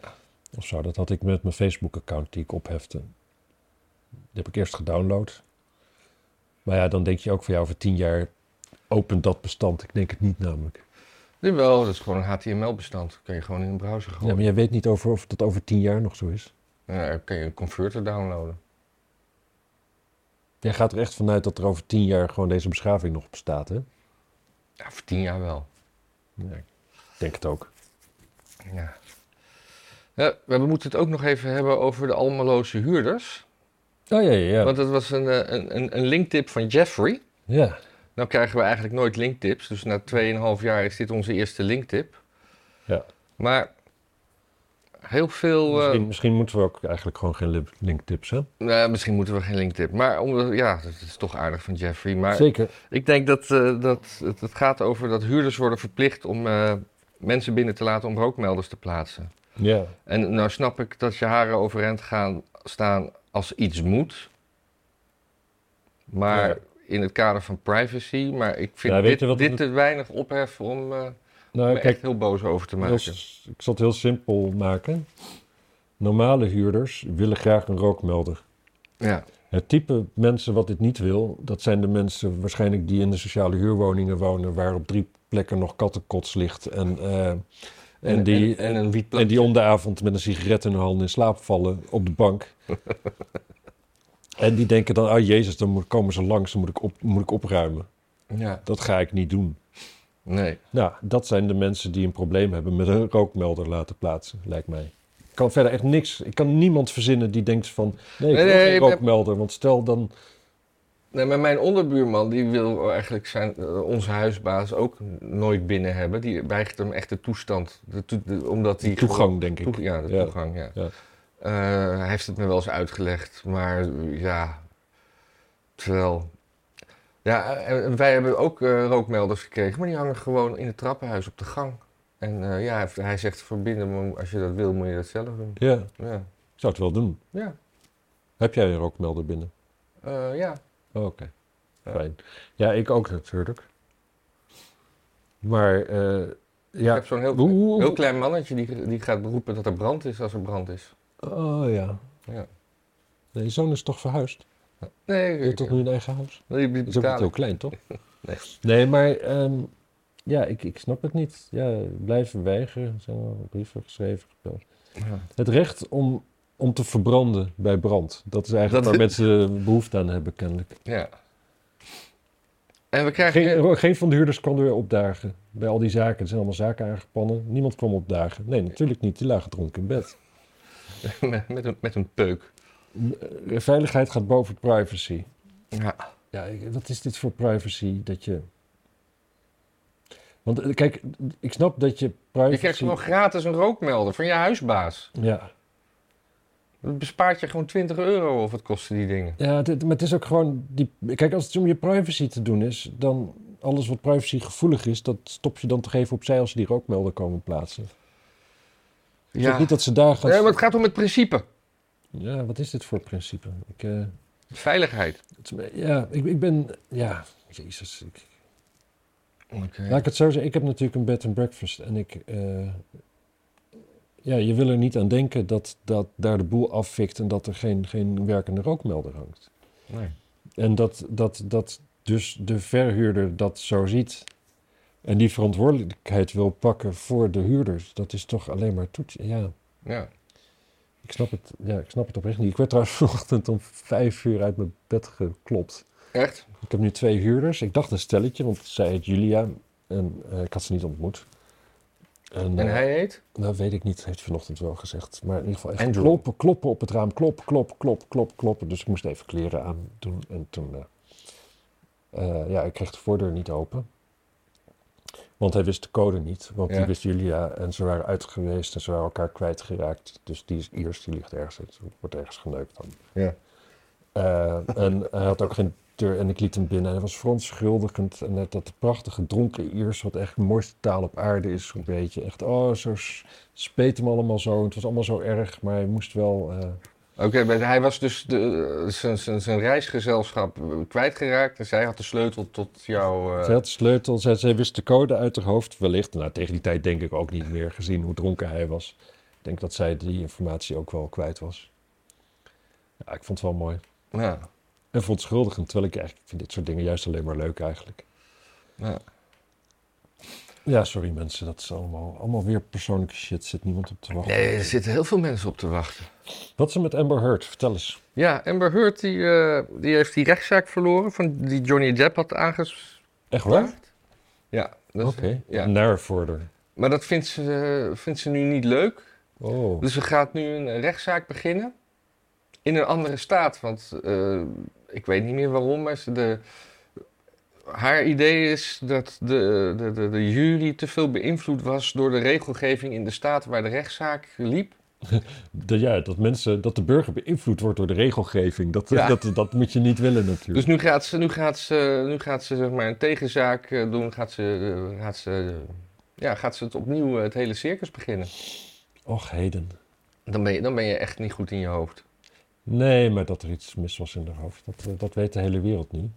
B: Of zo, dat had ik met mijn Facebook-account die ik ophefte. Die heb ik eerst gedownload. Maar ja, dan denk je ook van ja, over tien jaar opent dat bestand. Ik denk het niet namelijk.
A: Jawel, dat is gewoon een HTML-bestand. Dat kan je gewoon in een browser
B: Ja,
A: gooien.
B: maar jij weet niet over of dat over tien jaar nog zo is.
A: Ja, dan kan je een converter downloaden.
B: Jij gaat er echt vanuit dat er over tien jaar gewoon deze beschaving nog bestaat, hè?
A: Ja, voor tien jaar wel.
B: Ja, ik denk het ook.
A: Ja. Ja, we moeten het ook nog even hebben over de almeloze huurders.
B: Oh ja, ja, ja.
A: Want dat was een, eh, een, een, een linktip van Jeffrey.
B: Ja,
A: Nou krijgen we eigenlijk nooit linktips. Dus na 2,5 jaar is dit onze eerste linktip.
B: Ja.
A: Maar heel veel... eh,
B: misschien, misschien moeten we ook eigenlijk gewoon geen lip- linktips, hè?
A: nou, misschien moeten we geen linktip. Maar omdat, ja, dat is toch aardig van Jeffrey. Maar
B: Zeker.
A: ik denk dat, eh, dat het, het gaat over dat huurders worden verplicht om eh, mensen binnen te laten om rookmelders te plaatsen.
B: Ja.
A: En nou snap ik dat je haren overeind gaan staan als iets moet. Maar
B: Ja.
A: in het kader van privacy. Maar ik vind
B: Ja, weet
A: dit,
B: je wat
A: dit
B: het-
A: te weinig ophef om eh
B: Nou,
A: me
B: kijk,
A: echt heel boos over te
B: Heel s-
A: maken.
B: ik zal het heel simpel maken. Normale huurders willen graag een rookmelder.
A: Ja.
B: Het type mensen wat dit niet wil, dat zijn de mensen waarschijnlijk die in de sociale huurwoningen wonen, waar op drie plekken nog kattenkots ligt en, eh, en, die,
A: en, een wietplant.
B: en die om de avond met een sigaret in hun handen in slaap vallen op de bank. *laughs* en die denken dan, oh jezus, dan moet- komen ze langs, dan moet ik, op, moet ik opruimen.
A: Ja.
B: Dat ga ik niet doen.
A: Nee.
B: Nou, dat zijn de mensen die een probleem hebben met een rookmelder laten plaatsen, lijkt mij. Ik kan verder echt niks. Ik kan niemand verzinnen die denkt van... Nee, ik
A: Nee,
B: wil
A: nee,
B: geen
A: ik heb-
B: rookmelder. Want stel dan...
A: nee. Maar mijn onderbuurman die wil eigenlijk zijn, eh, onze huisbaas ook nooit binnen hebben. Die weigert hem echt de toestand. De toe- de- omdat die
B: toegang, denk ik.
A: Toe- ja, de
B: Ja.
A: toegang, ja.
B: Ja.
A: Eh, hij heeft het me wel eens uitgelegd, maar eh, ja, terwijl... Ja, en en wij hebben ook eh, rookmelders gekregen, maar die hangen gewoon in het trappenhuis op de gang. En eh, ja, hij- hij zegt, verbinden me, als je dat wil, moet je dat zelf doen.
B: Ja, ik
A: Ja,
B: zou het wel doen.
A: ja,
B: Heb jij een rookmelder binnen?
A: Eh, ja.
B: Oh, Oké,
A: Ja.
B: fijn. Ja, ik ook natuurlijk. Maar eh,
A: ik
B: ja...
A: heb zo'n heel,
B: Hoe- hoe-
A: heel klein mannetje die, die gaat beroepen dat er brand is als er brand is.
B: Oh ja.
A: Ja.
B: Nee, je zoon is toch verhuisd?
A: Nee,
B: Je hebt toch nu een eigen huis?
A: die- die
B: Dat is ook niet
A: betaal
B: heel
A: ik.
B: klein, toch?
A: Nee.
B: Nee, maar ehm, ja, ik, ik snap het niet. Ja, blijven weigeren. Er zijn al brieven geschreven. gespeeld.
A: Ja.
B: Het recht om, om te verbranden bij brand. Dat is eigenlijk
A: Dat-
B: waar mensen behoefte aan hebben, kennelijk.
A: Ja. En we krijgen...
B: Geen, geen van de huurders kwam er weer opdagen. Bij al die zaken. Er zijn allemaal zaken aangespannen. Niemand kwam opdagen. Nee, natuurlijk niet. Die lagen dronken in bed.
A: *laughs* met, met, een, met een peuk.
B: Eh, Veiligheid gaat boven privacy.
A: Ja.
B: Ja, ik- wat is dit voor privacy dat je... Want eh, kijk, ik snap dat je privacy...
A: Je krijgt gewoon gratis een rookmelder van je huisbaas.
B: Ja.
A: Dat bespaart je gewoon 20 euro of het kosten die dingen.
B: Ja, dit, maar het is ook gewoon... Die, kijk, als het om je privacy te doen is, dan alles wat privacy gevoelig is, dat stop je dan toch even opzij als ze die rookmelder komen plaatsen. Ik zeg niet dat ze daar gaan...
A: Nee, maar het gaat om het principe.
B: Ja, wat is dit voor principe? Ik, eh,
A: Veiligheid.
B: het is- ja, ik, ik ben... Ja, jezus. Ik, Laat ik het zo zeggen, ik heb natuurlijk een bed and breakfast en ik... eh, ja, je wil er niet aan denken dat, dat daar de boel afvikt en dat er geen, geen werkende rookmelder hangt.
A: Nee.
B: En dat, dat, dat dus de verhuurder dat zo ziet en die verantwoordelijkheid wil pakken voor de huurders, dat is toch alleen maar toets. Ja,
A: Ja.
B: ik snap het, ja, ik snap het oprecht niet. Ik werd trouwens *laughs* vanochtend om vijf uur uit mijn bed geklopt.
A: Echt?
B: Ik heb nu twee huurders. Ik dacht een stelletje, want zij heet Julia. En eh, ik had ze niet ontmoet. En,
A: En
B: eh,
A: hij heet?
B: Dat weet ik niet, heeft vanochtend wel gezegd. Maar in ieder geval echt
A: Andrew.
B: kloppen, kloppen op het raam. Kloppen, kloppen, kloppen, kloppen, kloppen. Dus ik moest even kleren aandoen. En toen, eh, eh, ja, ik kreeg de voordeur niet open. Want hij wist de code niet. Want
A: Ja.
B: die wist Julia en ze waren uit geweest en ze waren elkaar kwijtgeraakt. Dus die is eerst, die ligt ergens. Het wordt ergens geneukt dan.
A: Ja.
B: Eh, en hij had ook geen deur en ik liet hem binnen. En hij was verontschuldigend. En net dat prachtige dronken Iers, wat echt de mooiste taal op aarde is, zo'n beetje. Echt, oh, zo s- speet hem allemaal zo. Het was allemaal zo erg, maar hij moest wel... eh,
A: Oké, maar hij was dus de- eh, zijn- zijn- zijn reisgezelschap eh, kwijtgeraakt en zij had de sleutel tot jouw... eh,
B: Ze had de sleutel, zij, zij wist de code uit haar hoofd wellicht. Nou, tegen die tijd denk ik ook niet meer, gezien hoe dronken hij was. Ik denk dat zij die informatie ook wel kwijt was. Ja, ik vond het wel mooi.
A: ja.
B: En verontschuldigend, terwijl ik eigenlijk ik vind dit soort dingen juist alleen maar leuk eigenlijk.
A: Ja.
B: Ja, sorry mensen, dat is allemaal, allemaal weer persoonlijke shit. Zit niemand op te wachten.
A: Oh. Nee, er zitten heel veel mensen op te wachten.
B: Wat is er met Amber Heard? Vertel eens.
A: Ja, Amber Heard die, eh, die heeft die rechtszaak verloren van die Johnny Depp had aangespraakt.
B: Echt waar?
A: Ja, dat is-
B: Oké.
A: ja.
B: Naar vorder.
A: maar dat vindt ze, eh, vindt ze nu niet leuk.
B: Oh.
A: Dus ze gaat nu een rechtszaak beginnen in een andere staat. Want eh, ik weet niet meer waarom, maar ze de, haar idee is dat de, de, de, de jury te veel beïnvloed was door de regelgeving in de staat waar de rechtszaak liep.
B: Dat, ja, dat mensen, dat de burger beïnvloed wordt door de regelgeving. Dat,
A: Ja.
B: dat, dat moet je niet willen natuurlijk.
A: Dus nu gaat ze, nu gaat ze, nu gaat ze zeg maar een tegenzaak eh, doen. Gaat ze, eh, gaat ze, eh, ja, gaat ze het opnieuw eh, het hele circus beginnen. Dus-
B: Och, heden.
A: Dan ben, je, dan ben je echt niet goed in je hoofd.
B: Nee, maar dat er iets mis was in haar hoofd, dat, eh, dat weet de hele wereld nu.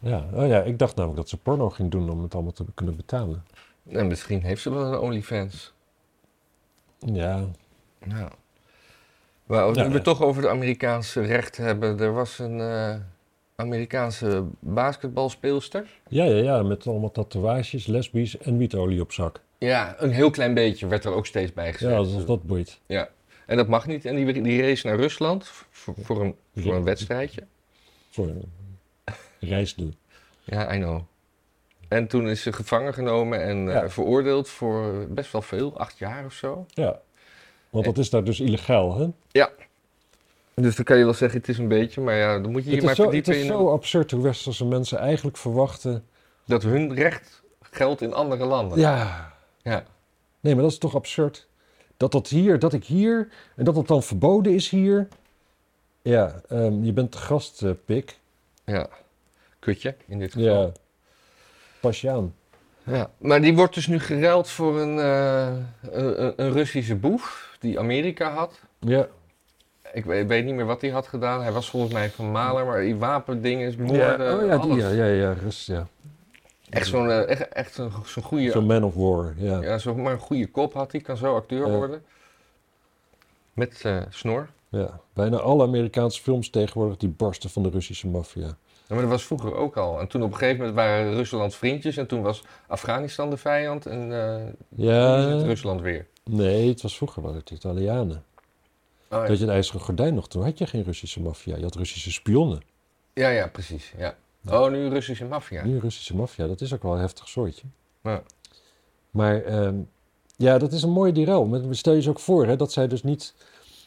B: Ja, oh ja, ik dacht namelijk dat ze porno ging doen om het allemaal te kunnen betalen.
A: En misschien heeft ze wel een OnlyFans.
B: Ja,
A: Nou. Maar als
B: Ja,
A: we
B: ja.
A: het toch over het Amerikaanse recht hebben. Er was een eh, Amerikaanse basketbalspeelster.
B: ja, ja, ja met allemaal tatoeages, lesbisch en wietolie op zak.
A: Ja, een heel klein beetje werd er ook steeds bij gezet.
B: Ja, alsof dat boeit.
A: Ja. En dat mag niet. En die, die race naar Rusland voor, voor, een, voor een wedstrijdje.
B: Voor een reisdoel.
A: Ja, I know. En toen is ze gevangen genomen en eh,
B: Ja.
A: veroordeeld voor best wel veel, acht jaar of zo.
B: Ja, want dat is daar dus illegaal, hè?
A: Dus dan kan je wel zeggen, het is een beetje, maar ja, dan moet je hier
B: Het
A: maar
B: is, zo, het
A: verdiepen
B: is
A: in
B: zo absurd hoe westerse mensen eigenlijk verwachten...
A: dat hun recht geldt in andere landen.
B: Ja,
A: ja.
B: nee, maar dat is toch absurd? Dat dat hier, dat ik hier, en dat dat dan verboden is hier. Ja, ehm, je bent de gast, eh, pik.
A: Ja. Kutje, in dit geval.
B: Ja. Pas je aan.
A: Ja, maar die wordt dus nu geruild voor een, eh, een, een Russische boef die Amerika had.
B: Ja.
A: Ik weet, weet niet meer wat hij had gedaan. Hij was volgens mij van Maler, maar die wapendingen, moorden,
B: oh ja, die,
A: eh, alles.
B: ja, ja, ja, rust, ja.
A: Echt zo'n eh, echt, echt zo'n zo'n goede,
B: Zo'n man of war, ja.
A: ja, zo'n maar een goede kop had hij. Kan zo acteur
B: Ja.
A: worden. Met eh, snor.
B: ja. Bijna alle Amerikaanse films tegenwoordig die barsten van de Russische maffia.
A: Ja, maar dat was vroeger ook al. En toen op een gegeven moment waren Rusland vriendjes en toen was Afghanistan de vijand en eh nu is het
B: Ja,
A: Rusland weer.
B: nee, het was vroeger wel het Italianen.
A: Oh,
B: Weet je, een ijzeren gordijn nog, toen had je geen Russische maffia. Je had Russische spionnen.
A: ja, ja, precies. Ja. Oh, nu Russische maffia.
B: Nu Russische maffia, dat is ook wel een heftig soortje.
A: Ja.
B: Maar ehm, ja, dat is een mooie die ruil. Maar Stel je eens ook voor hè, dat zij dus niet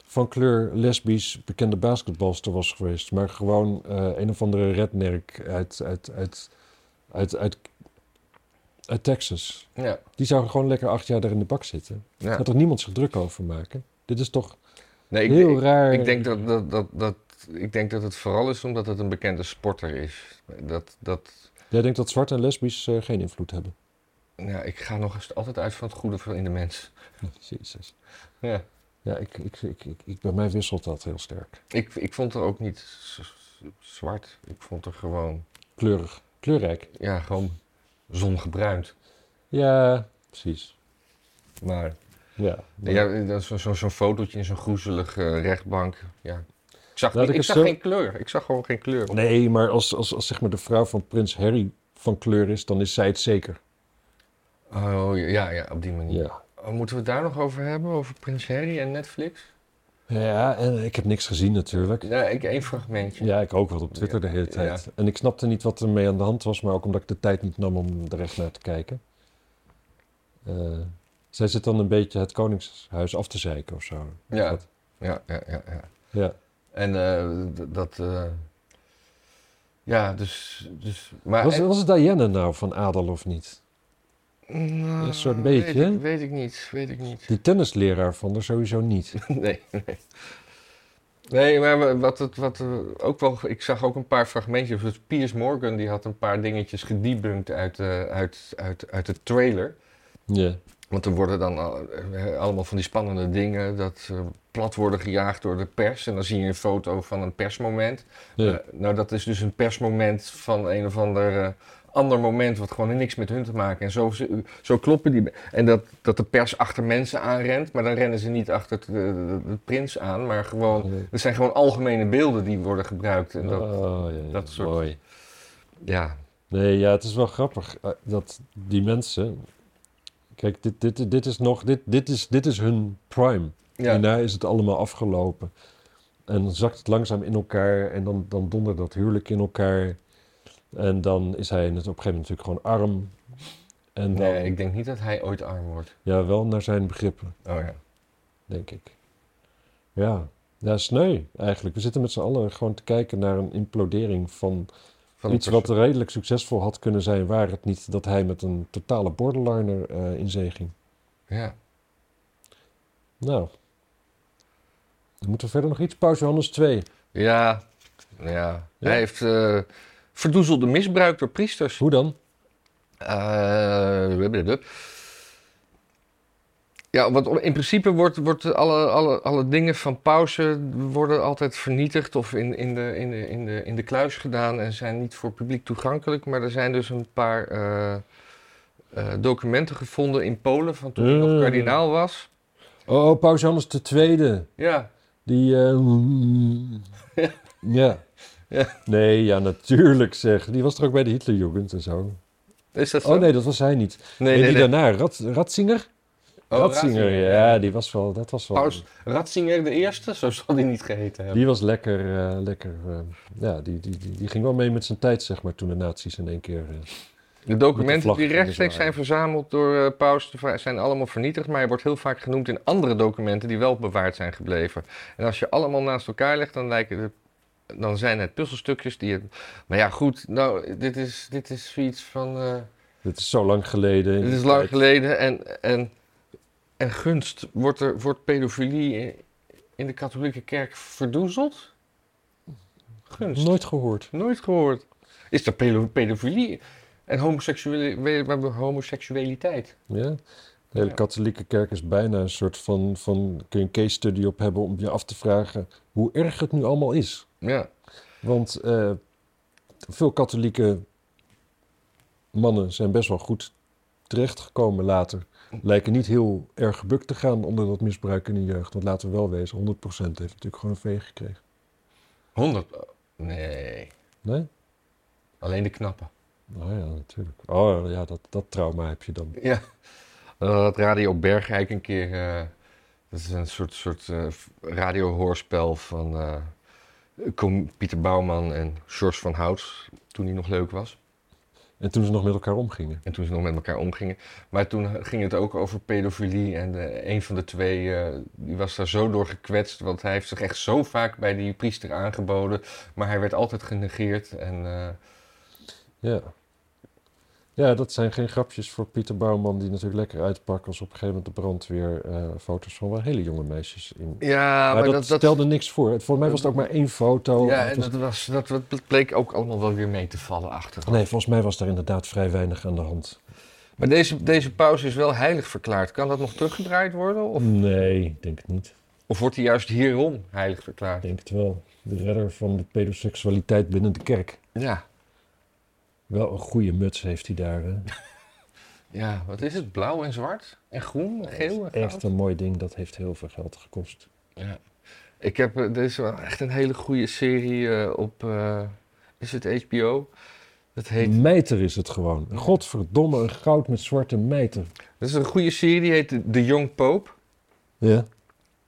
B: van kleur lesbisch bekende basketbalster was geweest. Maar gewoon eh, een of andere rednerk uit, uit, uit, uit, uit, uit Texas.
A: Ja.
B: Die zou gewoon lekker acht jaar daar in de bak zitten.
A: Ja.
B: Daar had toch niemand zich druk over maken? Dit is toch
A: Nee, ik,
B: Heel
A: ik-
B: raar.
A: Ik denk dat, dat, dat, dat, ik denk dat het vooral is omdat het een bekende sporter is. Dat, dat,
B: Jij denkt dat zwart en lesbisch eh, geen invloed hebben?
A: nou, ik ga nog eens altijd uit van het goede van in de mens.
B: Jezus.
A: Ja.
B: Ja, ik, ik, ik, ik, ik, bij mij wisselt dat heel sterk.
A: Ik, ik vond er ook niet z- z- zwart. Ik vond er gewoon,
B: Kleurig. Kleurrijk.
A: ja, gewoon zongebruind.
B: Ja, precies.
A: Maar
B: Ja.
A: ja, dat is zo- zo- zo'n fotootje in zo'n groezelige rechtbank. Ja. Ik zag,
B: Laat
A: niet-
B: ik
A: ik
B: het
A: zag
B: zo-
A: geen kleur. Ik zag gewoon geen kleur.
B: Nee, maar als, als, als zeg maar de vrouw van prins Harry van kleur is, dan is zij het zeker.
A: Oh ja, ja, op die manier.
B: Ja.
A: Oh, moeten we het daar nog over hebben? Over Prins Harry en Netflix?
B: Ja, en ik heb niks gezien natuurlijk.
A: Ja, ik één fragmentje.
B: Ja, ik ook wel op Twitter de hele
A: Ja.
B: tijd. En ik snapte niet wat ermee aan de hand was, maar ook omdat ik de tijd niet nam om er echt naar te kijken. Eh, zij zit dan een beetje het Koningshuis af te zeiken of zo.
A: Ja.
B: Dat-
A: Ja, ja, ja. ja.
B: ja.
A: En eh, d- dat... eh, ja, dus... dus maar,
B: Was, was het Diana nou van adel of niet?
A: Nou,
B: Een soort
A: weet
B: beetje,
A: ik-
B: hè?
A: Weet ik, niet, weet ik niet.
B: Die tennisleraar van er sowieso niet.
A: *laughs* Nee, nee. Nee, maar wa- wat het, wat eh, ook wel, ik zag ook een paar fragmentjes. Dus Piers Morgan die had een paar dingetjes gedebunked uit, eh, uit, uit, uit de trailer.
B: Ja.
A: Want er worden dan al- eh, allemaal van die spannende dingen dat eh, plat worden gejaagd door de pers. En dan zie je een foto van een persmoment.
B: ja.
A: Eh, nou, dat is dus een persmoment van een of ander eh, ander moment wat gewoon niks met hun te maken. En zo, zo kloppen die. En dat, dat de pers achter mensen aanrent, maar dan rennen ze niet achter de, de- de prins aan, maar gewoon.
B: Eh,
A: Het zijn gewoon algemene beelden die worden gebruikt. En dat,
B: oh, ja, ja.
A: dat soort-
B: Mooi.
A: ja.
B: Nee, ja, het is wel grappig eh, dat die mensen. Kijk, dit, dit, dit is nog. Dit, dit, is, dit is hun prime.
A: Ja.
B: Daarna is het allemaal afgelopen. En dan zakt het langzaam in elkaar. En dan, dan dondert dat huwelijk in elkaar. En dan is hij het op een gegeven moment natuurlijk gewoon arm. En dan,
A: Nee, ik denk niet dat hij ooit arm wordt.
B: ja, wel naar zijn begrippen,
A: Oh ja.
B: denk ik. Ja, ja sneu eigenlijk. We zitten met z'n allen gewoon te kijken naar een implodering van
A: Van de
B: Iets
A: pers-
B: wat redelijk succesvol had kunnen zijn, waar het niet dat hij met een totale borderliner eh in zee ging.
A: Ja.
B: Nou. Dan moeten we verder nog iets. Paus Johannes 2.
A: Ja. nou ja.
B: Ja?
A: Hij heeft eh, verdoezelde misbruik door priesters.
B: Hoe dan?
A: Eh, blablabla. ja, want in principe wordt, wordt alle, alle, alle dingen van pauze worden altijd vernietigd of in, in, de, in, de, in, de, in de kluis gedaan en zijn niet voor publiek toegankelijk. Maar er zijn dus een paar eh, eh, documenten gevonden in Polen van toen hij nog
B: Eh.
A: kardinaal was.
B: Oh, oh Paus Johannes de Tweede.
A: Ja,
B: Die. eh,
A: *laughs*
B: ja.
A: Ja.
B: Nee, ja, natuurlijk zeg. Die was er ook bij de Hitlerjugend en zo.
A: is dat zo?
B: Oh nee, dat was hij niet.
A: nee,
B: en
A: nee,
B: die
A: nee.
B: daarna, Rat, Ratzinger?
A: Oh,
B: Ratzinger,
A: Ratzinger.
B: ja, die was wel. Dat was wel
A: Paus Ratzinger de eerste, zo zal hij niet geheten hebben.
B: Die was lekker, eh, lekker eh, ja, die, die, die, die ging wel mee met zijn tijd, zeg maar, toen de nazi's in één keer... eh,
A: De documenten
B: vlag
A: die
B: in de
A: rechtstreeks
B: zwaai.
A: zijn verzameld door eh, Paus de Va- zijn allemaal vernietigd, maar hij wordt heel vaak genoemd in andere documenten die wel bewaard zijn gebleven. En als je allemaal naast elkaar legt, dan, lijken de, dan zijn het puzzelstukjes die het. Maar ja, goed, nou, dit is, dit is zoiets van. eh,
B: dit is zo lang geleden.
A: dit is lang geleden en, en, en gunst. Wordt, er, wordt pedofilie in- in de katholieke kerk verdoezeld? Gunst.
B: Nooit gehoord.
A: Nooit gehoord. Is er pedo- pedofilie en homoseksuele- we- homoseksualiteit?
B: Ja? De hele
A: Ja.
B: katholieke kerk is bijna een soort van, van... Kun je een case study op hebben om je af te vragen hoe erg het nu allemaal is.
A: Ja.
B: Want eh, veel katholieke mannen zijn best wel goed terechtgekomen later. Lijken niet heel erg gebukt te gaan onder dat misbruik in de jeugd. Want laten we wel wezen, 100% heeft natuurlijk gewoon een vee gekregen.
A: 100? eh, Nee.
B: Nee?
A: Alleen de knappen.
B: Nou ja, natuurlijk. Oh ja, dat, dat trauma heb je dan.
A: Ja. Eh, Dat had Radio Bergijk een keer. eh, dat is een soort, soort eh, f- radiohoorspel van eh, com- Pieter Bouwman en George van Hout. Toen hij nog leuk was.
B: En toen ze nog met elkaar omgingen.
A: En toen ze nog met elkaar omgingen. Maar toen ging het ook over pedofilie. En eh, een van de twee eh, die was daar zo door gekwetst. Want hij heeft zich echt zo vaak bij die priester aangeboden. Maar hij werd altijd genegeerd. En eh,
B: Ja. Ja, dat zijn geen grapjes voor Pieter Bouwman, die natuurlijk lekker uitpakt als op een gegeven moment de brandweer eh, foto's van wel hele jonge meisjes in.
A: Ja,
B: maar
A: maar
B: dat,
A: dat, dat,
B: stelde niks voor. Het- Volgens mij was het ook maar één foto.
A: ja,
B: Het
A: en
B: was-
A: dat, was, dat, dat bleek ook allemaal wel weer mee te vallen achter.
B: Nee, volgens mij was daar inderdaad vrij weinig aan de hand.
A: Maar deze, deze pauze is wel heilig verklaard. Kan dat nog teruggedraaid worden? Of,
B: Nee, ik denk het niet.
A: of wordt hij juist hierom heilig verklaard?
B: Ik denk het wel. De redder van de pedoseksualiteit binnen de kerk.
A: Ja,
B: Wel een goede muts heeft hij
A: *laughs*
B: daar. Hè?
A: ja wat is het? Blauw en zwart? En groen? En geel? En goud?
B: Echt een mooi ding. Dat heeft heel veel geld gekost.
A: Ja. Ik heb, eh, er is wel echt een hele goede serie eh, op, eh, is het HBO? Dat heet,
B: Mijter is het gewoon. Godverdomme, een goud met zwarte mijter.
A: dat is een goede serie, die heet The Young Pope.
B: Ja.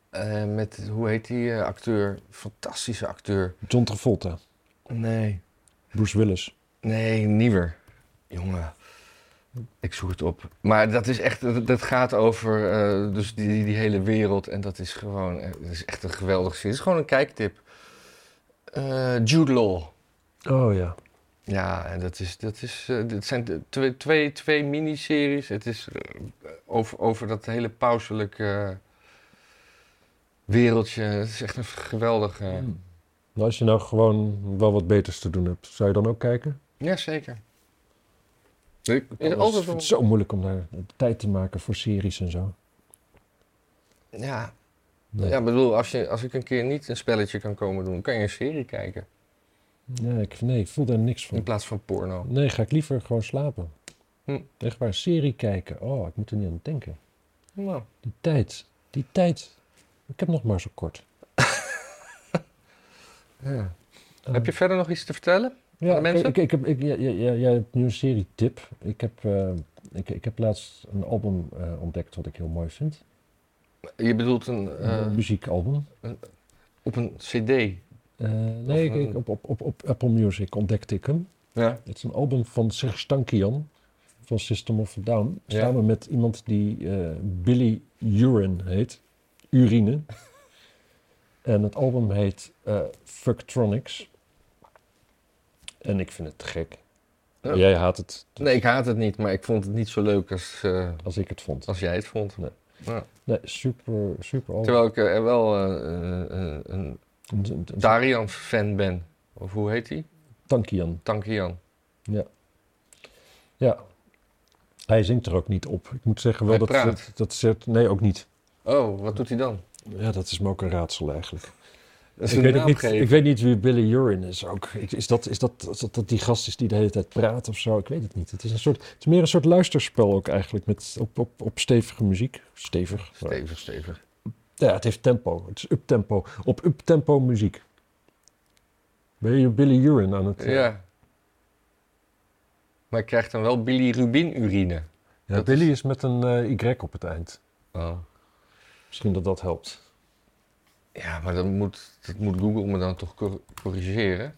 A: Eh, met, hoe heet die eh, acteur? Fantastische acteur.
B: John Travolta.
A: Nee.
B: Bruce Willis.
A: Nee, nieuwer. Jongen, ik zoek het op. Maar dat is echt, dat, dat gaat over eh, dus die, die, die hele wereld. En dat is gewoon, eh, dat is echt een geweldig serie. Het is gewoon een kijktip. Eh, Jude Law.
B: Oh ja.
A: Ja, en dat is, dat is, eh, dit zijn de twee, twee, twee miniseries. Het is eh, over, over dat hele pauselijke eh, wereldje. Het is echt een geweldige...
B: Nou, als je nou gewoon wel wat beters te doen hebt, zou je dan ook kijken?
A: Ja, zeker. Ik,
B: Ik
A: altijd
B: vind het
A: wel-
B: zo moeilijk om daar tijd te maken voor series en zo.
A: Ja,
B: Nee.
A: Ja, ik bedoel, als, je, als ik een keer niet een spelletje kan komen doen, kan je een serie kijken.
B: Nee, ik, nee, ik voel daar niks
A: In
B: van.
A: plaats van porno.
B: Nee, ga ik liever gewoon slapen.
A: Hm.
B: Echt waar, serie kijken. Oh, ik moet er niet aan denken.
A: Nou,
B: Die tijd. Die tijd. Ik heb nog maar zo
A: *laughs*
B: kort.
A: ja.
B: Eh,
A: Heb je verder nog iets te vertellen?
B: ja,
A: de mensen?
B: Ik, ik, ik heb, ik, ja, ja, ja, jij hebt nu een serie tip. Ik heb, eh, ik, ik heb laatst een album eh, ontdekt wat ik heel mooi vind.
A: Je bedoelt een, eh,
B: Een muziekalbum.
A: op een cd.
B: Eh, nee,
A: of
B: ik-
A: een-
B: ik- op, op, op, op Apple Music ontdekte ik hem.
A: Ja.
B: Het is een album van Serge Tankian van System of a Down.
A: Ja.
B: Samen met iemand die eh, Billy Urine heet. Urine. *laughs* en het album heet eh Fucktronics. En ik vind het te gek.
A: Ja.
B: Jij haat het dus
A: Nee, ik haat het niet, maar ik vond het niet zo leuk als, eh,
B: als ik het vond.
A: als jij het vond.
B: Nee.
A: Ja.
B: Nee, super, super album.
A: Terwijl ik er wel eh, eh, eh, een
B: Een- een- een
A: Darian-fan ben. Of hoe heet die?
B: Tankian.
A: Tankian.
B: Ja. Hij zingt er ook niet op. Ik moet zeggen wel
A: Hij
B: dat,
A: praat.
B: dat, dat ze- Nee, ook niet.
A: Oh, wat doet hij dan?
B: Ja, dat is me ook een raadsel eigenlijk.
A: Dat is
B: Ik
A: een
B: weet, ook
A: naam
B: niet,
A: geven.
B: ik weet niet wie Billy Urin is ook. Ik- Is dat, is dat, is dat, dat die gast is die de hele tijd praat of zo? Ik weet het niet. Het is, een soort, het is meer een soort luisterspel ook eigenlijk met, op, op, op stevige muziek. Stevig.
A: Stevig, stevig.
B: Ja, het heeft tempo. Het is uptempo. Op uptempo muziek. Ben je Billy Urin aan het... eh,
A: Ja. Maar ik krijg dan wel bilirubin-urine.
B: ja,
A: dat
B: Billy
A: is-
B: is, met een eh, Y op het eind.
A: Oh.
B: Misschien dat dat helpt.
A: Ja, maar dat moet, dat moet Google me dan toch cor- corrigeren?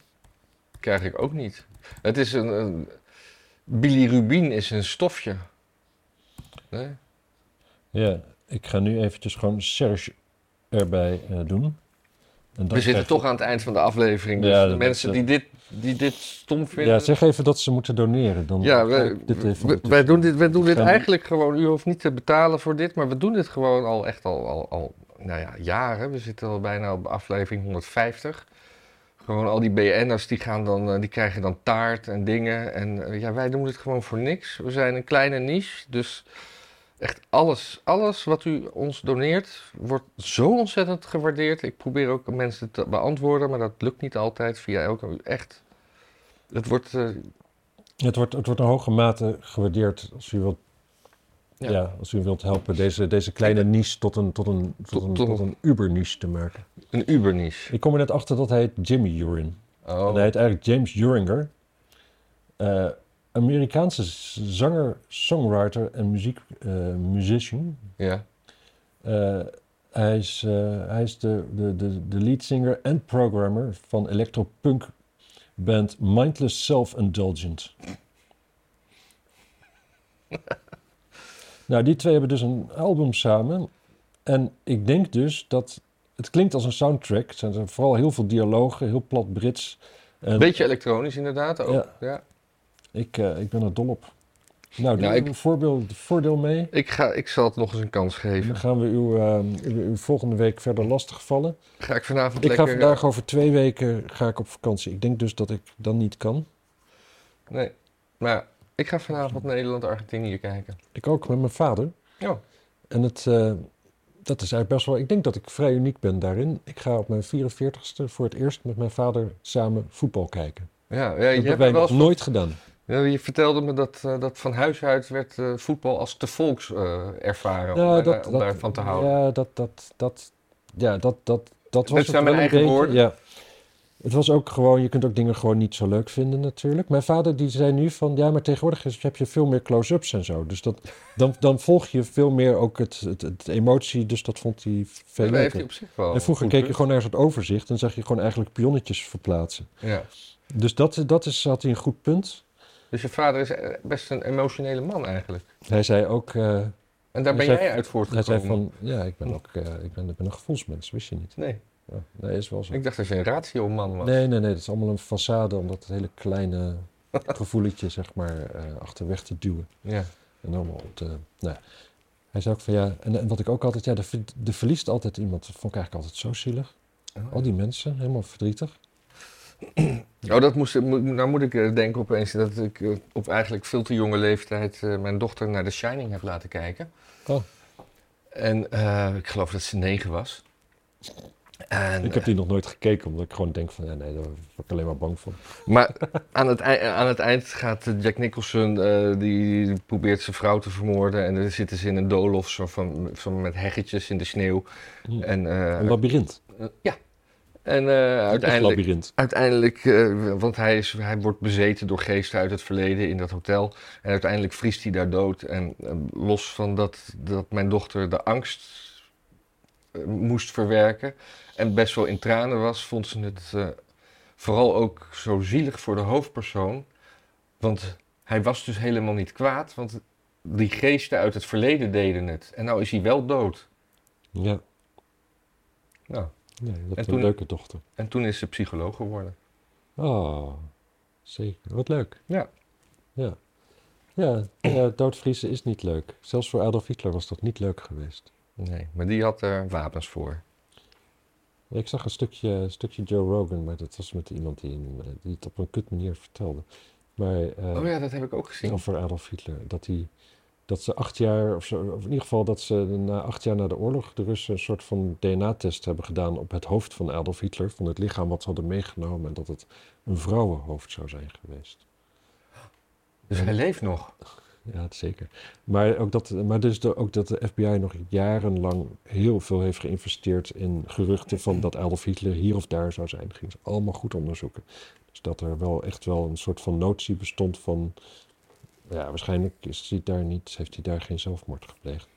A: Krijg ik ook niet. Het is een, een bilirubin is een stofje. Nee?
B: Ja, ik ga nu eventjes gewoon Serge erbij eh, doen. En dan
A: We zitten
B: krijg je-
A: toch aan het eind van de aflevering. Dus
B: Ja,
A: de
B: dat-
A: mensen
B: dat-
A: die dit, die dit stom vinden.
B: Ja, zeg even dat ze moeten doneren. Dan
A: Ja,
B: ga
A: wij,
B: ik dit eh, even
A: wij-
B: ondertussen-
A: wij doen dit, wij doen dit
B: Gaan we-
A: eigenlijk gewoon. U hoeft niet te betalen voor dit, maar we doen dit gewoon al echt al, al, al nou ja, jaren. We zitten al bijna op aflevering 150. Gewoon al die BN'ers die, gaan dan, eh, die krijgen dan taart en dingen. En eh, ja, wij doen dit gewoon voor niks. We zijn een kleine niche, dus echt alles, alles wat u ons doneert wordt zo ontzettend gewaardeerd. Ik probeer ook mensen te beantwoorden, maar dat lukt niet altijd via elke... Echt, het wordt... eh,
B: Het wordt, het wordt in hoge mate gewaardeerd als u wilt,
A: Ja.
B: ja. als u wilt helpen deze, deze kleine niche tot een, tot een, tot een,
A: tot-
B: tot een uber-niche te maken.
A: een uberniche.
B: Ik kom er net achter dat hij heet Jimmy Urin.
A: Oh.
B: En hij heet eigenlijk James Uringer. Eh, Amerikaanse z- zanger, songwriter en muziek, eh, musician.
A: Ja.
B: Eh, hij is, eh, hij is de, de, de, de lead singer en programmer van electropunk band Mindless Self-Indulgent. nou, die twee hebben dus een album samen. En ik denk dus dat het klinkt als een soundtrack. Er zijn vooral heel veel dialogen, heel plat Brits. En
A: Beetje elektronisch inderdaad ook. Ja.
B: Ja. ik, eh, ik ben er dol op. Nou, daar
A: Nou,
B: hebben
A: ik-
B: we een voorbeeld, voordeel mee.
A: Ik, ga, ik zal het nog eens een kans
B: En
A: geven.
B: dan gaan we uw, eh, uw- uw volgende week verder lastigvallen.
A: Ga ik vanavond
B: Ik ga
A: lekker... eh,
B: vandaag over twee weken ga ik op vakantie. Ik denk dus dat ik dan niet kan.
A: eh, Nee, maar ik ga vanavond Nederland-Argentinië kijken.
B: Ik ook met mijn vader.
A: Ja.
B: En het, eh, dat is eigenlijk best wel... Ik denk dat ik vrij uniek ben daarin. Ik ga op mijn 44ste voor het eerst met mijn vader samen voetbal kijken.
A: Ja, ja, Eh, je,
B: dat
A: hebt
B: hebben
A: me
B: wij
A: wel
B: nog
A: eens-
B: nooit gedaan.
A: ja, je vertelde me dat, eh, dat van huis uit werd eh, voetbal als te volks eh, ervaren. om,
B: Nou,
A: daar-
B: dat,
A: om
B: dat-
A: daarvan te houden.
B: Ja, dat, dat, dat, ja, dat, dat, dat was
A: Het zijn mijn
B: wel een
A: eigen
B: beetje,
A: woorden.
B: Ja. Het was ook gewoon, je kunt ook dingen gewoon niet zo leuk vinden natuurlijk. Mijn vader die zei nu van, ja, maar tegenwoordig is- heb je veel meer close-ups en zo. Dus dat, dan, dan volg je veel meer ook het, het, het emotie, dus dat vond hij veel
A: Ja, dat heeft hij
B: leuker.
A: op zich wel.
B: En vroeger
A: een
B: keek
A: goed
B: je gewoon naar het overzicht en zag je gewoon eigenlijk pionnetjes verplaatsen.
A: punt. Ja.
B: Dus dat, dat is, had hij een goed punt.
A: Dus je vader is eh, best een emotionele man eigenlijk.
B: Hij zei ook, eh,
A: En daar
B: Hij
A: ben
B: zei-
A: jij uit
B: hij
A: voortgekomen.
B: zei van, ja, ik ben ook, eh, ik ben, ik ben een gevoelsmens, wist je niet.
A: Nee,
B: Ja, nee, is wel zo.
A: ik dacht dat je een ratio-man was.
B: Nee, nee, nee. Dat is allemaal een façade om dat hele
A: *laughs*
B: kleine gevoeletje, zeg maar, eh, achterweg te duwen.
A: Ja.
B: En allemaal op te... Nou, ja. hij zei ook van ja... En, en wat ik ook altijd... Ja, er, ver- er verliest altijd iemand. Dat vond ik eigenlijk altijd zo zielig. Al die mensen, helemaal verdrietig.
A: Oh, dat moest, mo- nou moet ik eh, denken opeens dat ik eh, op eigenlijk veel te jonge leeftijd eh, mijn dochter naar The Shining heb laten kijken.
B: Oh.
A: En eh, ik geloof dat ze negen was. En,
B: Ik heb die nog nooit gekeken, omdat ik gewoon denk van... Ja, nee, daar word ik alleen maar bang voor.
A: eh, Maar aan het, ei- aan het eind gaat eh, Jack Nicholson, eh, die, die probeert zijn vrouw te vermoorden. En dan zitten ze in een doolhof zo van, van met heggetjes in de sneeuw.
B: Hm.
A: En, eh,
B: Een labyrinth.
A: ja. En eh,
B: Een
A: uiteindelijk,
B: labyrinth.
A: uiteindelijk eh, want hij, is, hij wordt bezeten door geesten uit het verleden in dat hotel. En uiteindelijk vriest hij daar dood. En eh, los van dat, dat mijn dochter de angst eh, moest verwerken en best wel in tranen was, vond ze het eh, vooral ook zo zielig voor de hoofdpersoon. Want hij was dus helemaal niet kwaad, want die geesten uit het verleden deden het. En nou is hij wel dood.
B: Ja.
A: Nou,
B: Nee, dat
A: En
B: is een
A: toen-
B: leuke dochter.
A: en toen is ze psycholoog geworden.
B: Oh, zeker. Wat leuk.
A: Ja.
B: Ja. Ja, ja, doodvriezen is niet leuk. Zelfs voor Adolf Hitler was dat niet leuk geweest.
A: Nee, maar die had er wapens voor.
B: Ik zag een stukje, een stukje Joe Rogan, maar dat was met iemand die, een- die het op een kut manier vertelde. Maar eh,
A: Oh ja, dat heb ik ook gezien.
B: over Adolf Hitler, dat, hij, dat ze acht jaar, of, zo, of in ieder geval dat ze na acht jaar na de oorlog de Russen een soort van DNA-test hebben gedaan op het hoofd van Adolf Hitler, van het lichaam wat ze hadden meegenomen en dat het een vrouwenhoofd zou zijn geweest.
A: Dus hij leeft nog.
B: Ja, dat zeker. Maar, ook dat, maar dus de, ook dat de FBI nog jarenlang heel veel heeft geïnvesteerd in geruchten van dat Adolf Hitler hier of daar zou zijn. Ging ze allemaal goed onderzoeken. Dus dat er wel echt wel een soort van notie bestond van. Ja, waarschijnlijk is hij daar niet, heeft hij daar geen zelfmoord gepleegd.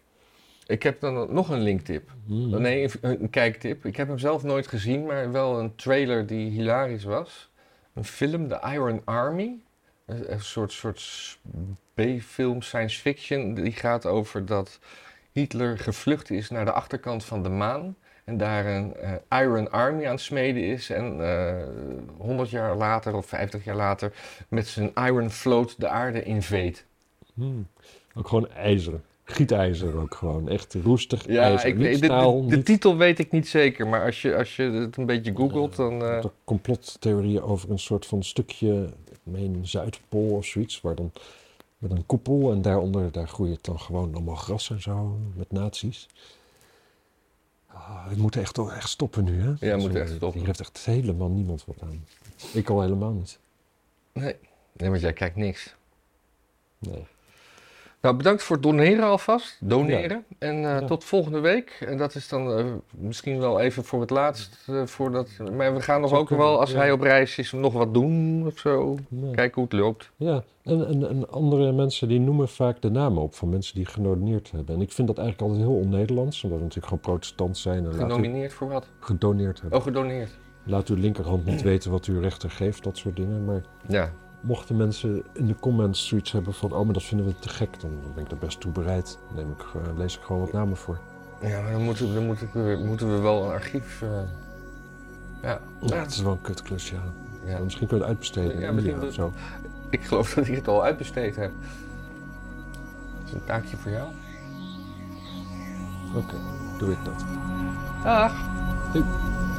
A: Ik heb dan nog een linktip. Nee, een- een kijktip. Ik heb hem zelf nooit gezien, maar wel een trailer die hilarisch was. Een film, The Iron Army. Een een soort, soort B-film, science fiction. Die gaat over dat Hitler gevlucht is naar de achterkant van de maan. En daar een eh, Iron Army aan het smeden is. En eh 100 jaar later of 50 jaar later met zijn Iron Float de aarde inveet.
B: Hmm. Ook gewoon ijzeren. Gietijzer ook gewoon. Echt roestig
A: Ja,
B: ijzer.
A: ik
B: Niet
A: weet, de,
B: staal,
A: de, de
B: niet-
A: titel weet ik niet zeker, maar als je, als je het een beetje googelt, dan... eh,
B: Er zijn complottheorieën over een soort van stukje, ik meen Zuidpool of zoiets, waar dan met een koepel en daaronder daar groeit het dan gewoon allemaal gras en zo met nazi's. Ah, we moeten echt, echt stoppen nu, hè?
A: we moeten
B: Zo,
A: echt stoppen.
B: Hier heeft echt helemaal niemand wat aan. Ik al helemaal niet.
A: nee. nee, want jij kijkt niks.
B: Nee.
A: Nou, bedankt voor het doneren alvast. Doneren. En eh,
B: Ja.
A: tot volgende week. En dat is dan eh, misschien wel even voor het laatst. eh, voordat, maar we gaan nog
B: Zou
A: ook
B: kunnen,
A: wel, als
B: ja.
A: hij op reis is, nog wat doen of zo.
B: nee.
A: Kijken hoe het loopt.
B: Ja, en, en, en andere mensen die noemen vaak de namen op van mensen die genomineerd hebben. En ik vind dat eigenlijk altijd heel on-Nederlands, omdat we natuurlijk gewoon protestant zijn en laten we
A: Genomineerd voor wat?
B: gedoneerd hebben.
A: Oh, gedoneerd.
B: Laat uw linkerhand niet weten wat uw rechter geeft, dat soort dingen. Maar
A: Ja.
B: mochten mensen in de comments zoiets hebben van... oh, maar dat vinden we te gek, dan ben ik er best toe bereid. Dan neem ik, eh, lees ik gewoon wat namen voor.
A: Ja, maar dan moeten, we- dan moeten, we, moeten we wel een archief... eh, ja.
B: Ja, het is wel een kutklus, ja.
A: ja.
B: Misschien kun je het uitbesteden
A: Ja,
B: in India
A: misschien *laughs*
B: of zo.
A: Ik geloof dat ik het al uitbesteed heb. is een taakje voor jou.
B: Oké, doe ik dat.
A: Dag.
B: Doei.